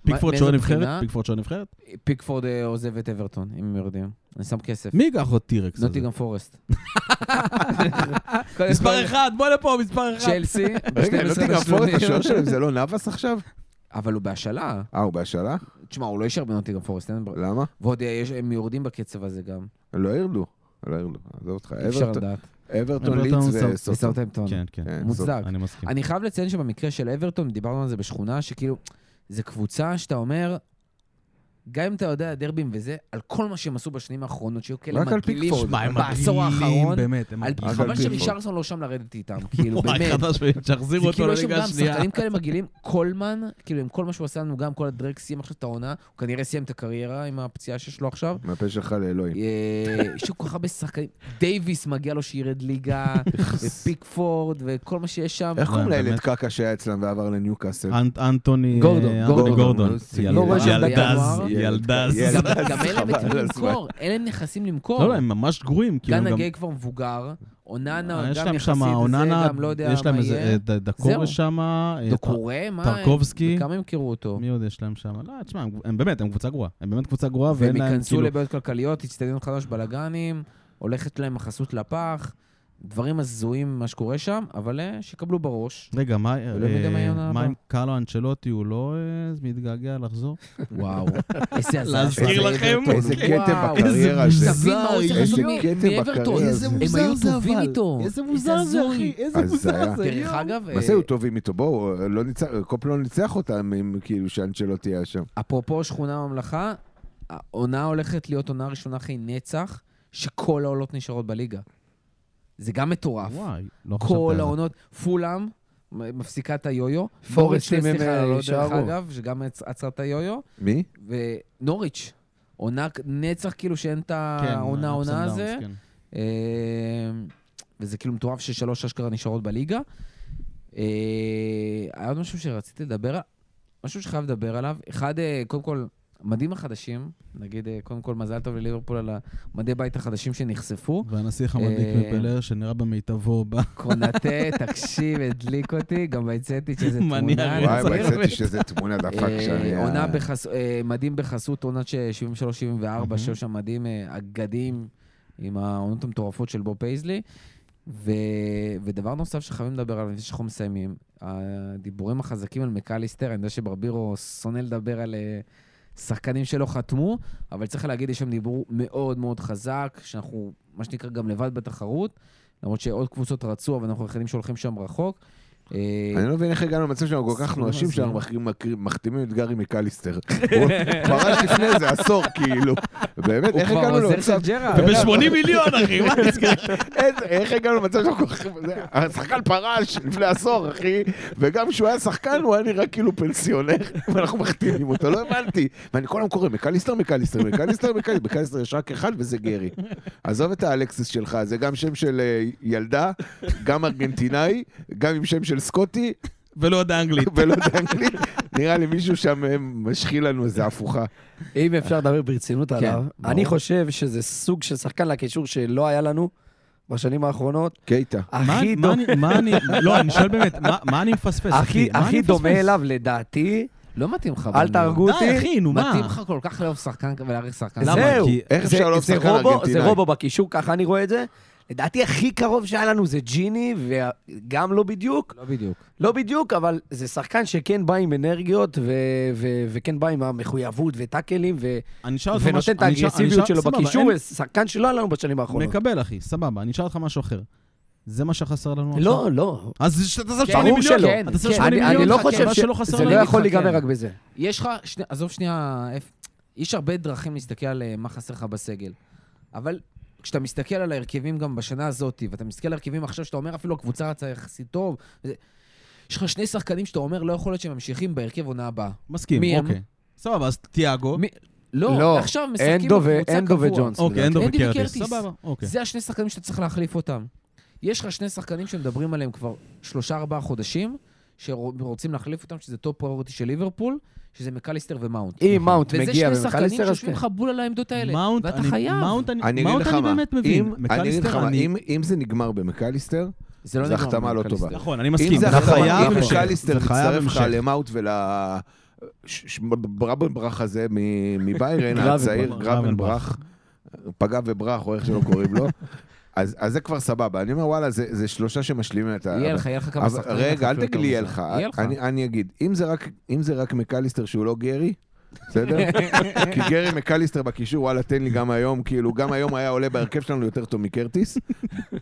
Speaker 2: פיקפורד
Speaker 1: מאיזה
Speaker 2: שוער
Speaker 1: בחינה?
Speaker 2: נבחרת? פיקפורד שוער נבחרת?
Speaker 1: פיקפורד אה, עוזב את אברטון, אם הם יורדים. אני שם כסף.
Speaker 2: מי ייקח עוד טירקס הזה?
Speaker 1: נוטיגם פורסט.
Speaker 2: מספר אחד, בוא לפה, מספר אחד.
Speaker 1: צ'לסי,
Speaker 3: רגע,
Speaker 1: ב-
Speaker 3: לא
Speaker 1: 12
Speaker 3: תגפור את
Speaker 1: תשלומים.
Speaker 3: השוער שלהם, זה לא נאבס עכשיו?
Speaker 1: אבל הוא בהשאלה.
Speaker 3: אה, הוא בהשאלה?
Speaker 1: תשמע, הוא לא יישאר בנוטיגם פורסט, אין ברירה.
Speaker 3: למה?
Speaker 1: ועוד אה, יש- הם יורדים בקצב הזה גם.
Speaker 3: לא ירדו. לא ירדו, עזוב אותך.
Speaker 1: אי אפשר
Speaker 3: אברטון-
Speaker 1: לדעת.
Speaker 2: אברטון,
Speaker 3: אברטון, לידס
Speaker 2: סאוט-
Speaker 3: וסוטון.
Speaker 1: בסאוטהמפטון.
Speaker 2: כן, כן.
Speaker 3: כן, סוטון.
Speaker 1: מוצדק.
Speaker 2: אני מסכים.
Speaker 1: אני חייב לציין שבמקרה של אברטון, דיברנו על זה בשכונה, שכאילו, זו קבוצה שאתה אומר, גם אם אתה יודע דרבים וזה, על כל מה שהם עשו בשנים האחרונות, שהיו כאלה
Speaker 3: רק על
Speaker 1: מגעילים
Speaker 3: פיקפורד.
Speaker 2: מה, הם
Speaker 1: בעשור
Speaker 2: מגעילים,
Speaker 1: האחרון,
Speaker 2: באמת, הם
Speaker 1: על
Speaker 2: מגעילים.
Speaker 3: רק
Speaker 1: חבל
Speaker 3: על פיקפורד.
Speaker 1: שרישרסון לא שם לרדת איתם, כאילו,
Speaker 2: וואי,
Speaker 1: באמת.
Speaker 2: חדש, שיחזירו
Speaker 1: זה
Speaker 2: אותו
Speaker 1: כאילו יש שם
Speaker 2: לליגה
Speaker 1: גם
Speaker 2: השנייה.
Speaker 1: שחקנים כאלה מגעילים, קולמן, כאילו עם כל מה שהוא עשה לנו, גם כל הדרג סיים עכשיו את העונה, הוא כנראה סיים את הקריירה עם הפציעה שיש לו עכשיו.
Speaker 3: מהפה שלך לאלוהים.
Speaker 1: אה, יש לו כל כך הרבה שחקנים, דייוויס מגיע לו שירד ליגה, ופיקפורד, וכל מה שיש שם.
Speaker 3: איך קוראים
Speaker 2: באמת.
Speaker 3: לילד קקה שהיה אצלם ועבר לניוקאסל?
Speaker 2: אנ- אנטוני
Speaker 4: גורדון,
Speaker 2: אה,
Speaker 1: גורדון.
Speaker 2: אנטוני גורדון.
Speaker 3: לא רואה
Speaker 2: ילד-
Speaker 4: שם
Speaker 2: ילדז,
Speaker 1: בינואר.
Speaker 2: ילדז.
Speaker 3: ילד.
Speaker 1: גם
Speaker 3: זה
Speaker 1: גם אין להם
Speaker 3: חבל
Speaker 1: את מי
Speaker 3: על הזמן.
Speaker 1: למכור, אין להם נכסים למכור.
Speaker 2: לא, לא, הם ממש גרועים. כאילו,
Speaker 1: גן
Speaker 2: גם- אה,
Speaker 1: הגיי כבר מבוגר, אוננה
Speaker 2: יש
Speaker 1: גם
Speaker 2: להם
Speaker 1: יחסית,
Speaker 2: שם
Speaker 1: זה
Speaker 2: אוננה,
Speaker 1: גם לא יודע
Speaker 2: יש להם
Speaker 1: מה
Speaker 2: איזה אה,
Speaker 1: יהיה.
Speaker 2: ד- דקורס שם, אה,
Speaker 1: אתה קורא? מה?
Speaker 2: טרקובסקי.
Speaker 1: כמה ימכרו אותו?
Speaker 2: מי עוד יש להם שם? לא, תשמע, הם- הם באמת, הם קבוצה גרועה. הם באמת קבוצה גרועה, ואין
Speaker 1: אה, והם
Speaker 2: להם,
Speaker 1: ייכנסו
Speaker 2: כאילו...
Speaker 1: לבעיות כלכליות, הצטדיון חדש, בלאגנים, הולכת להם החסות לפח, דברים הזויים מה שקורה שם, אבל אה, שיקבלו בראש.
Speaker 2: רגע, מה
Speaker 1: לא יודע מה יהיה
Speaker 2: אה,
Speaker 1: העונה
Speaker 2: מה
Speaker 1: הבאה.
Speaker 2: עם קרלו אנצ'לוטי? הוא לא אה, מתגעגע לחזור?
Speaker 1: וואו, איזה עזר.
Speaker 2: להזכיר לכם?
Speaker 3: איזה כתם
Speaker 1: אה, אוקיי. וואו,
Speaker 3: בקריירה
Speaker 2: איזה
Speaker 3: הזה.
Speaker 1: תבין מה הוא עושה
Speaker 3: איזה
Speaker 1: חשוב
Speaker 3: כתם
Speaker 1: מאברטון,
Speaker 3: בקריירה
Speaker 1: איזה
Speaker 3: הזה.
Speaker 1: מוזר הם היו טובים איתו.
Speaker 2: איזה
Speaker 1: מוזר זה, אחי,
Speaker 2: איזה
Speaker 3: הזיה. מוזר זה,
Speaker 1: דרך אגב, אה,
Speaker 3: מה זה היו טובים איתו? בואו, לא ניצח- קופ לא ניצח אותם, אם כאילו שאנצ'לוטי היה שם.
Speaker 1: אפרופו שכונה ממלכה, העונה הולכת להיות עונה ראשונה אחרי נצח, שכל העולות נשארות בליגה. זה גם מטורף.
Speaker 2: וואי, לא חשבתי
Speaker 1: כל
Speaker 2: על זה.
Speaker 1: העונות, פולאם, מ- מפסיקה את היו-יו.
Speaker 4: פורסט
Speaker 1: נוריץ',
Speaker 4: אם הם,
Speaker 1: סליחה,
Speaker 4: אה,
Speaker 1: לא, דרך
Speaker 4: יישארו.
Speaker 1: אגב, שגם עצ- עצרה את היו-יו.
Speaker 3: מי?
Speaker 1: ונוריץ', עונה נצח כאילו שאין את
Speaker 2: כן,
Speaker 1: העונה
Speaker 2: ups and כן.
Speaker 1: עונה
Speaker 2: downs,
Speaker 1: הזה.
Speaker 2: כן.
Speaker 1: אה, וזה כאילו מטורף ששלוש אשכרה נשארות בליגה. אה, היה עוד משהו שרציתי לדבר עליו, משהו שחייב לדבר עליו. אחד, אה, קודם כל, מדים החדשים, נגיד, אה, קודם כל, מזל טוב לליברפול על המדי בית החדשים שנחשפו.
Speaker 2: והנסיך המדליק
Speaker 1: אה,
Speaker 2: מפלר, שנראה במיטבו, ב-
Speaker 1: קונטה, תקשיב, הדליק אותי, גם הצאתי שזה תמונה.
Speaker 2: מניע
Speaker 1: אני
Speaker 3: וואי,
Speaker 2: רצח.
Speaker 1: מצטער.
Speaker 3: מצאתי שזה תמונה דפק
Speaker 1: אה,
Speaker 3: שאני...
Speaker 1: עונה בחס... אה, מדהים בחסות, עונת ש- 73-74,
Speaker 2: מהמם.
Speaker 1: שהיו שם מדהים אה, אגדים עם העונות המטורפות של בוב פייזלי. ו... ודבר נוסף שחייבים לדבר עליו לפני שאנחנו מסיימים, הדיבורים החזקים על מקליסטר, אני יודע שברבירו שונא לדבר על אה, שחקנים שלא חתמו, אבל צריך להגיד, יש שם דיבור מאוד מאוד חזק, שאנחנו, מה שנקרא, גם לבד בתחרות, למרות שעוד קבוצות רצו, אבל אנחנו היחידים שהולכים שם רחוק. אה,
Speaker 3: אני לא מבין איך הגענו למצב שאנחנו כל כך
Speaker 1: סכום
Speaker 3: נואשים
Speaker 1: הזוי.
Speaker 3: שאנחנו מכ- מכ- מחתימים את גארי מקליסטר. הוא פרש לפני איזה עשור, כאילו. באמת,
Speaker 1: הוא
Speaker 3: איך
Speaker 1: כבר
Speaker 3: הגענו
Speaker 1: עוזר של
Speaker 3: למצב...
Speaker 1: ג'רארד.
Speaker 2: וב-80 מיליון, אחי, מה נסגר?
Speaker 3: איזה- איך הגענו למצב שאנחנו כל כך... זה- השחקן פרש לפני עשור, אחי, וגם כשהוא היה שחקן הוא היה נראה כאילו פנסיונר, ואנחנו מחתימים אותו, לא הבנתי. ואני כל היום קורא, מקליסטר, מקליסטר, מקליסטר, מקליסטר, מקליסטר יש רק אחד וזה גרי. עזוב את האלקסיס שלך, זה גם שם של אה, ילדה, גם ארגנטינאי, גם עם שם של סקוטי,
Speaker 2: ולא יודע אנגלית.
Speaker 3: ולא יודע אנגלית. נראה לי מישהו שם אה, משחיל לנו איזה הפוכה.
Speaker 4: אם אפשר לדבר ברצינות
Speaker 2: כן,
Speaker 4: עליו,
Speaker 1: ברור.
Speaker 4: אני חושב שזה סוג של שחקן לקישור שלא היה לנו בשנים האחרונות.
Speaker 3: קייטה.
Speaker 2: מה-
Speaker 4: הכי
Speaker 2: מה
Speaker 4: דומה-
Speaker 2: אני- מה אני... לא, אני שואל באמת, מה- מה אני מפספס?
Speaker 4: הכי,
Speaker 2: מה אני
Speaker 4: הכי דומה
Speaker 2: מפספס?
Speaker 4: אליו לדעתי,
Speaker 1: לא מתאים לך.
Speaker 4: אל
Speaker 1: בנו.
Speaker 4: תהרגו
Speaker 2: די,
Speaker 4: אותי.
Speaker 2: אחי, נו, מה?
Speaker 1: מתאים לך כל כך לאהוב שחקן ולהעריך שחקן.
Speaker 2: למה?
Speaker 4: זהו,
Speaker 2: כי-
Speaker 3: איך
Speaker 4: זה-
Speaker 3: אפשר
Speaker 1: לא
Speaker 3: לאהוב
Speaker 4: זה
Speaker 3: שחקן
Speaker 4: רובו-
Speaker 3: ארגנטינאי?
Speaker 4: זה רובו בקישור, ככה אני רואה את זה. לדעתי הכי קרוב שהיה לנו זה ג'יני, וגם לא בדיוק,
Speaker 1: לא בדיוק.
Speaker 4: לא בדיוק, אבל זה שחקן שכן בא עם אנרגיות, ו- ו- וכן בא עם המחויבות וטאקלים, ו-
Speaker 2: אני אשאל אותך
Speaker 4: ונותן
Speaker 2: משהו-
Speaker 4: את
Speaker 2: אני אשאל- אני אשאל-
Speaker 4: האגרסיביות שלו
Speaker 2: סבבה,
Speaker 4: בקישור,
Speaker 2: אין-
Speaker 4: זה שחקן שלא היה לנו בשנים האחרונות.
Speaker 2: מקבל, אחי, סבבה. אני אשאל אותך משהו אחר. זה מה שחסר לנו עכשיו?
Speaker 4: לא, לא.
Speaker 2: אז ש- אתה שם 80
Speaker 4: ברור
Speaker 2: מיליון.
Speaker 4: שלא.
Speaker 1: כן,
Speaker 2: אתה שם
Speaker 1: כן.
Speaker 2: 80
Speaker 4: אני- אני
Speaker 2: מיליון,
Speaker 4: לא
Speaker 2: חכה,
Speaker 4: חושב
Speaker 2: מה
Speaker 4: ש-
Speaker 2: שלא חסר
Speaker 4: זה
Speaker 2: לנו.
Speaker 4: לא יכול
Speaker 1: להתחכם.
Speaker 2: כן.
Speaker 4: להיגמר רק בזה.
Speaker 1: יש לך, שני- עזוב שנייה, אפ- יש הרבה דרכים להסתכל על אה, מה חסר לך בסגל. אבל כשאתה מסתכל על ההרכבים גם בשנה הזאת, ואתה מסתכל על ההרכבים עכשיו, שאתה אומר אפילו הקבוצה רצה יחסית טוב, וזה- יש לך שני שחקנים שאתה אומר לא יכול להיות שהם ממשיכים בהרכב עונה הבאה.
Speaker 2: מסכים,
Speaker 1: מי הם?
Speaker 2: אוקיי. סבבה, אז תיאגו.
Speaker 1: מי- לא,
Speaker 4: לא,
Speaker 1: עכשיו משחקים
Speaker 4: אנדו ו-
Speaker 1: בקבוצה קבוע.
Speaker 4: אנדו וג'ונס.
Speaker 2: אוקיי, אנדו
Speaker 1: אנדי
Speaker 2: וקרטיס.
Speaker 1: וקרטיס.
Speaker 2: סבבה, אוקיי.
Speaker 1: זה השני שחקנים שאתה צריך להחליף אותם. יש לך שני שחקנים שמדברים עליהם כבר שלושה-ארבעה חודשים, שרוצים להחליף אותם, שזה טופ פריורטי של ליברפול, שזה מקליסטר ומאונט.
Speaker 4: אם מאונט
Speaker 1: וזה
Speaker 4: מגיע
Speaker 1: שני שחקנים
Speaker 4: ומקליסטר, אז כן.
Speaker 1: שיושבים לך בול על העמדות האלה.
Speaker 2: מאונט,
Speaker 1: ואתה
Speaker 2: אני-
Speaker 1: חייב.
Speaker 2: מאונט, אני
Speaker 3: אני אגיד
Speaker 2: מאונט
Speaker 3: לך
Speaker 2: אני
Speaker 3: מה,
Speaker 2: באמת
Speaker 3: אם-
Speaker 2: מבין.
Speaker 3: אני אגיד לך
Speaker 2: מקליסטר,
Speaker 3: מה,
Speaker 2: אני...
Speaker 3: אם- אם זה נגמר במקליסטר,
Speaker 1: זה לא
Speaker 3: זה
Speaker 1: נגמר
Speaker 3: החתמה לא
Speaker 1: במקליסטר.
Speaker 3: טובה.
Speaker 2: נכון, אני
Speaker 3: אם
Speaker 2: מסכים.
Speaker 3: זה
Speaker 4: נכון,
Speaker 3: החתמה, אם
Speaker 4: נכון.
Speaker 3: מקליסטר
Speaker 2: זה חייב
Speaker 3: מצטרף לך
Speaker 2: המשך.
Speaker 3: למאוט ול... ש- ש- ברבנברח הזה מ- מביירן,
Speaker 2: גרבנברח.
Speaker 3: הצעיר, גרבנברח, פגע וברח, או איך שלא קוראים לו, אז אז זה כבר סבבה. אני אומר, וואלה, זה זה שלושה משלימים את ה...
Speaker 1: יהיה לך, יהיה לך כמה
Speaker 3: אבל
Speaker 1: שחקנים.
Speaker 3: רגע,
Speaker 1: יחליפו
Speaker 3: אל תגיד
Speaker 1: אותו
Speaker 3: לי יהיה
Speaker 1: בזה.
Speaker 3: לך.
Speaker 1: יהיה לך.
Speaker 3: אני- אני אגיד, אם זה רק- אם זה רק מקליסטר שהוא לא גרי, בסדר? כי גרי מקליסטר בקישור, וואלה, תן לי גם היום, כאילו, גם היום היה עולה בהרכב שלנו יותר טוב מקרטיס,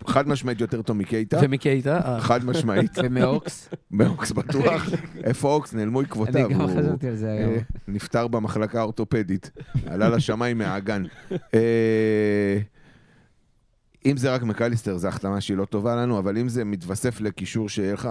Speaker 3: חד משמעית יותר טוב מקייטה,
Speaker 4: ומקייטה, אה.
Speaker 3: חד משמעית,
Speaker 1: ומאוקס.
Speaker 3: באוקס בטוח. איפה אוקס? נעלמו עקבותיו.
Speaker 1: אני גם
Speaker 3: הוא-
Speaker 1: חשבתי על זה היום.
Speaker 3: אה, נפטר במחלקה האורתופדית, עלה לשמיים מהאגן. אה, אם זה רק מקליסטר, זו החתמה שהיא לא טובה לנו, אבל אם זה מתווסף לקישור שיהיה לך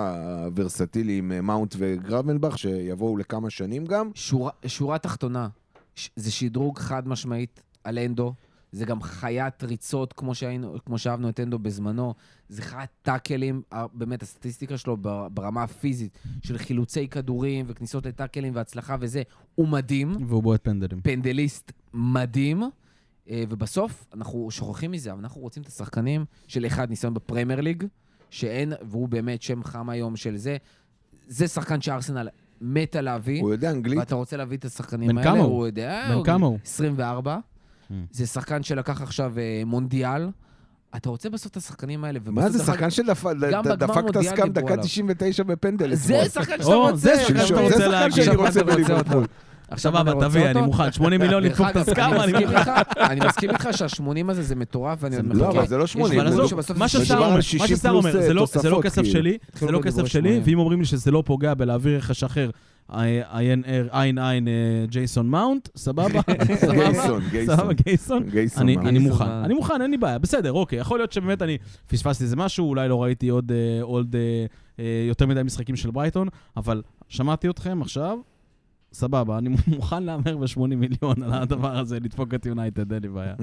Speaker 3: ורסטילי עם אה, מאונט וגרבנבך, שיבואו לכמה שנים גם,
Speaker 1: שורה- שורה תחתונה, ש- זה שדרוג חד משמעית על אנדו. זה גם חיית ריצות, כמו, שהיינו, כמו שאהבנו את אנדו בזמנו. זה חיית טאקלים, ה- באמת, הסטטיסטיקה שלו בר- ברמה הפיזית, של חילוצי כדורים וכניסות לטאקלים והצלחה וזה, הוא מדהים.
Speaker 2: והוא בועט פנדלים.
Speaker 1: פנדליסט מדהים, אה, ובסוף אנחנו שוכחים מזה, אבל אנחנו רוצים את השחקנים של אחד ניסיון בפרמייר ליג, שאין, והוא באמת שם חם היום של זה. זה שחקן שארסנל מתה להביא,
Speaker 3: הוא יודע אנגלית,
Speaker 1: ואתה רוצה להביא את השחקנים
Speaker 2: בן
Speaker 1: האלה,
Speaker 2: כמה הוא?
Speaker 1: הוא יודע,
Speaker 2: בן כמה הוא?
Speaker 1: 24.
Speaker 2: Mm.
Speaker 1: זה שחקן שלקח עכשיו אה, מונדיאל. אתה רוצה בסוף את השחקנים האלה, ובסוף...
Speaker 3: מה זה
Speaker 1: דרך אגב-
Speaker 3: שחקן שדפק
Speaker 1: גם בגמר
Speaker 3: דפק את
Speaker 1: מונדיאל
Speaker 3: הסכם
Speaker 1: דיברו
Speaker 3: דקה
Speaker 1: עליו.
Speaker 3: 99 בפנדל
Speaker 1: זה
Speaker 3: אתמול.
Speaker 1: שחקן שאתה
Speaker 2: או,
Speaker 1: רוצה!
Speaker 2: זה שחקן
Speaker 1: עכשיו
Speaker 2: שאתה רוצה
Speaker 1: אתה
Speaker 2: להגיד.
Speaker 1: עכשיו אתה רוצה
Speaker 3: בליברפול.
Speaker 1: אותו. עכשיו אתה
Speaker 2: סבבה,
Speaker 1: רוצה
Speaker 2: תביא, אני
Speaker 1: אותו?
Speaker 2: מוכן. 80 מיליון
Speaker 1: דרך
Speaker 2: לדפוק את
Speaker 1: אגב,
Speaker 2: הסכמה, אני
Speaker 1: מסכים
Speaker 2: מוכן.
Speaker 1: איתך, אני מסכים איתך שהשמונים הזה זה מטורף, ואני עוד
Speaker 3: לא,
Speaker 1: מחכה.
Speaker 3: אבל זה לא
Speaker 1: יש
Speaker 3: 80,
Speaker 2: אבל
Speaker 1: מלא
Speaker 3: מדובר-
Speaker 1: זוג
Speaker 2: עזוב,
Speaker 1: שבסוף
Speaker 2: מה
Speaker 1: זה
Speaker 2: ששר
Speaker 3: מדובר על
Speaker 2: אומר, מה
Speaker 3: 60
Speaker 2: ששר
Speaker 3: פלוס,
Speaker 2: אומר, זה לא- זה לא
Speaker 3: תוספות,
Speaker 2: כסף
Speaker 3: כאילו.
Speaker 2: שלי,
Speaker 1: התחילו
Speaker 2: זה לא
Speaker 1: בדיבורי
Speaker 2: כסף שלי,
Speaker 1: שמיים.
Speaker 2: ואם אומרים לי שזה לא פוגע בלהעביר רכש אחר, אה, עין ער- עין עין אה, ג'ייסון מאונט, סבבה? סבבה?
Speaker 3: גייסון,
Speaker 2: סבבה,
Speaker 3: גייסון.
Speaker 2: גייסון.
Speaker 3: גייסון.
Speaker 2: אני,
Speaker 3: מה?
Speaker 2: אני
Speaker 1: איזה
Speaker 2: מוכן,
Speaker 1: מה?
Speaker 2: אני מוכן, אין לי בעיה, בסדר, אוקיי. יכול להיות שבאמת אני פספסתי איזה משהו, אולי לא ראיתי עוד, אה, עוד אה, אה, יותר מדי משחקים של ברייטון, אבל שמעתי אתכם עכשיו, סבבה, אני מוכן להמר ב-80 מיליון על הדבר הזה, לדפוק את יונייטד, אין לי בעיה.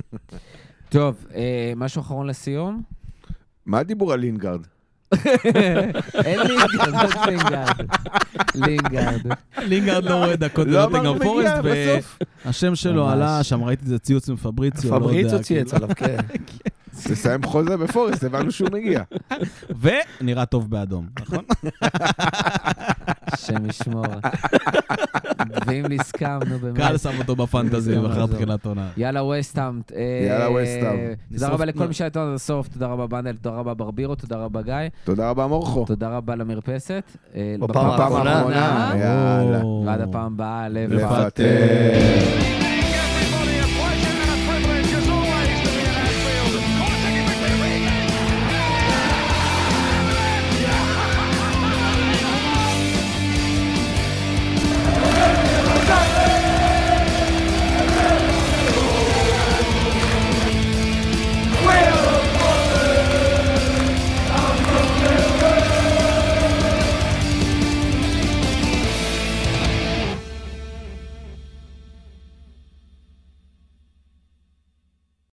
Speaker 1: טוב, אה, משהו אחרון לסיום?
Speaker 3: מה הדיבור על לינגארד?
Speaker 1: אין לינגארד, אין לינגארד. לינגארד.
Speaker 2: לינגארד לא רואה דקות
Speaker 3: לא
Speaker 2: בנוטינגהאם
Speaker 3: אמרנו
Speaker 2: פורסט,
Speaker 3: מילה בסוף.
Speaker 2: והשם שלו
Speaker 1: ממש.
Speaker 2: עלה שם, ראיתי את זה ציוץ מפבריציו, לא יודע.
Speaker 4: פבריצו
Speaker 2: כאילו.
Speaker 4: צייץ עליו, כן.
Speaker 3: לסיים חוזה בפורסט, הבנו שהוא מגיע.
Speaker 2: ונראה טוב באדום, נכון?
Speaker 1: השם ישמור. ואם נזכר, נו באמת.
Speaker 2: קהל שם אותו בפנטזי
Speaker 1: לא
Speaker 2: אחר
Speaker 1: יעזור.
Speaker 2: תחילת עונה.
Speaker 1: יאללה וסטאם.
Speaker 3: יאללה, וסטהאם.
Speaker 1: תודה
Speaker 2: נשרוף-
Speaker 1: רבה לכל
Speaker 2: לא.
Speaker 1: מי שהייתה עד הסוף, תודה רבה בנדל, תודה רבה ברבירו, תודה רבה גיא,
Speaker 3: תודה רבה, מורכו.
Speaker 1: תודה רבה למרפסת. אה,
Speaker 4: בפעם האחרונה.
Speaker 3: יאללה.
Speaker 2: או.
Speaker 1: ועד הפעם הבאה, לב
Speaker 3: לפטר.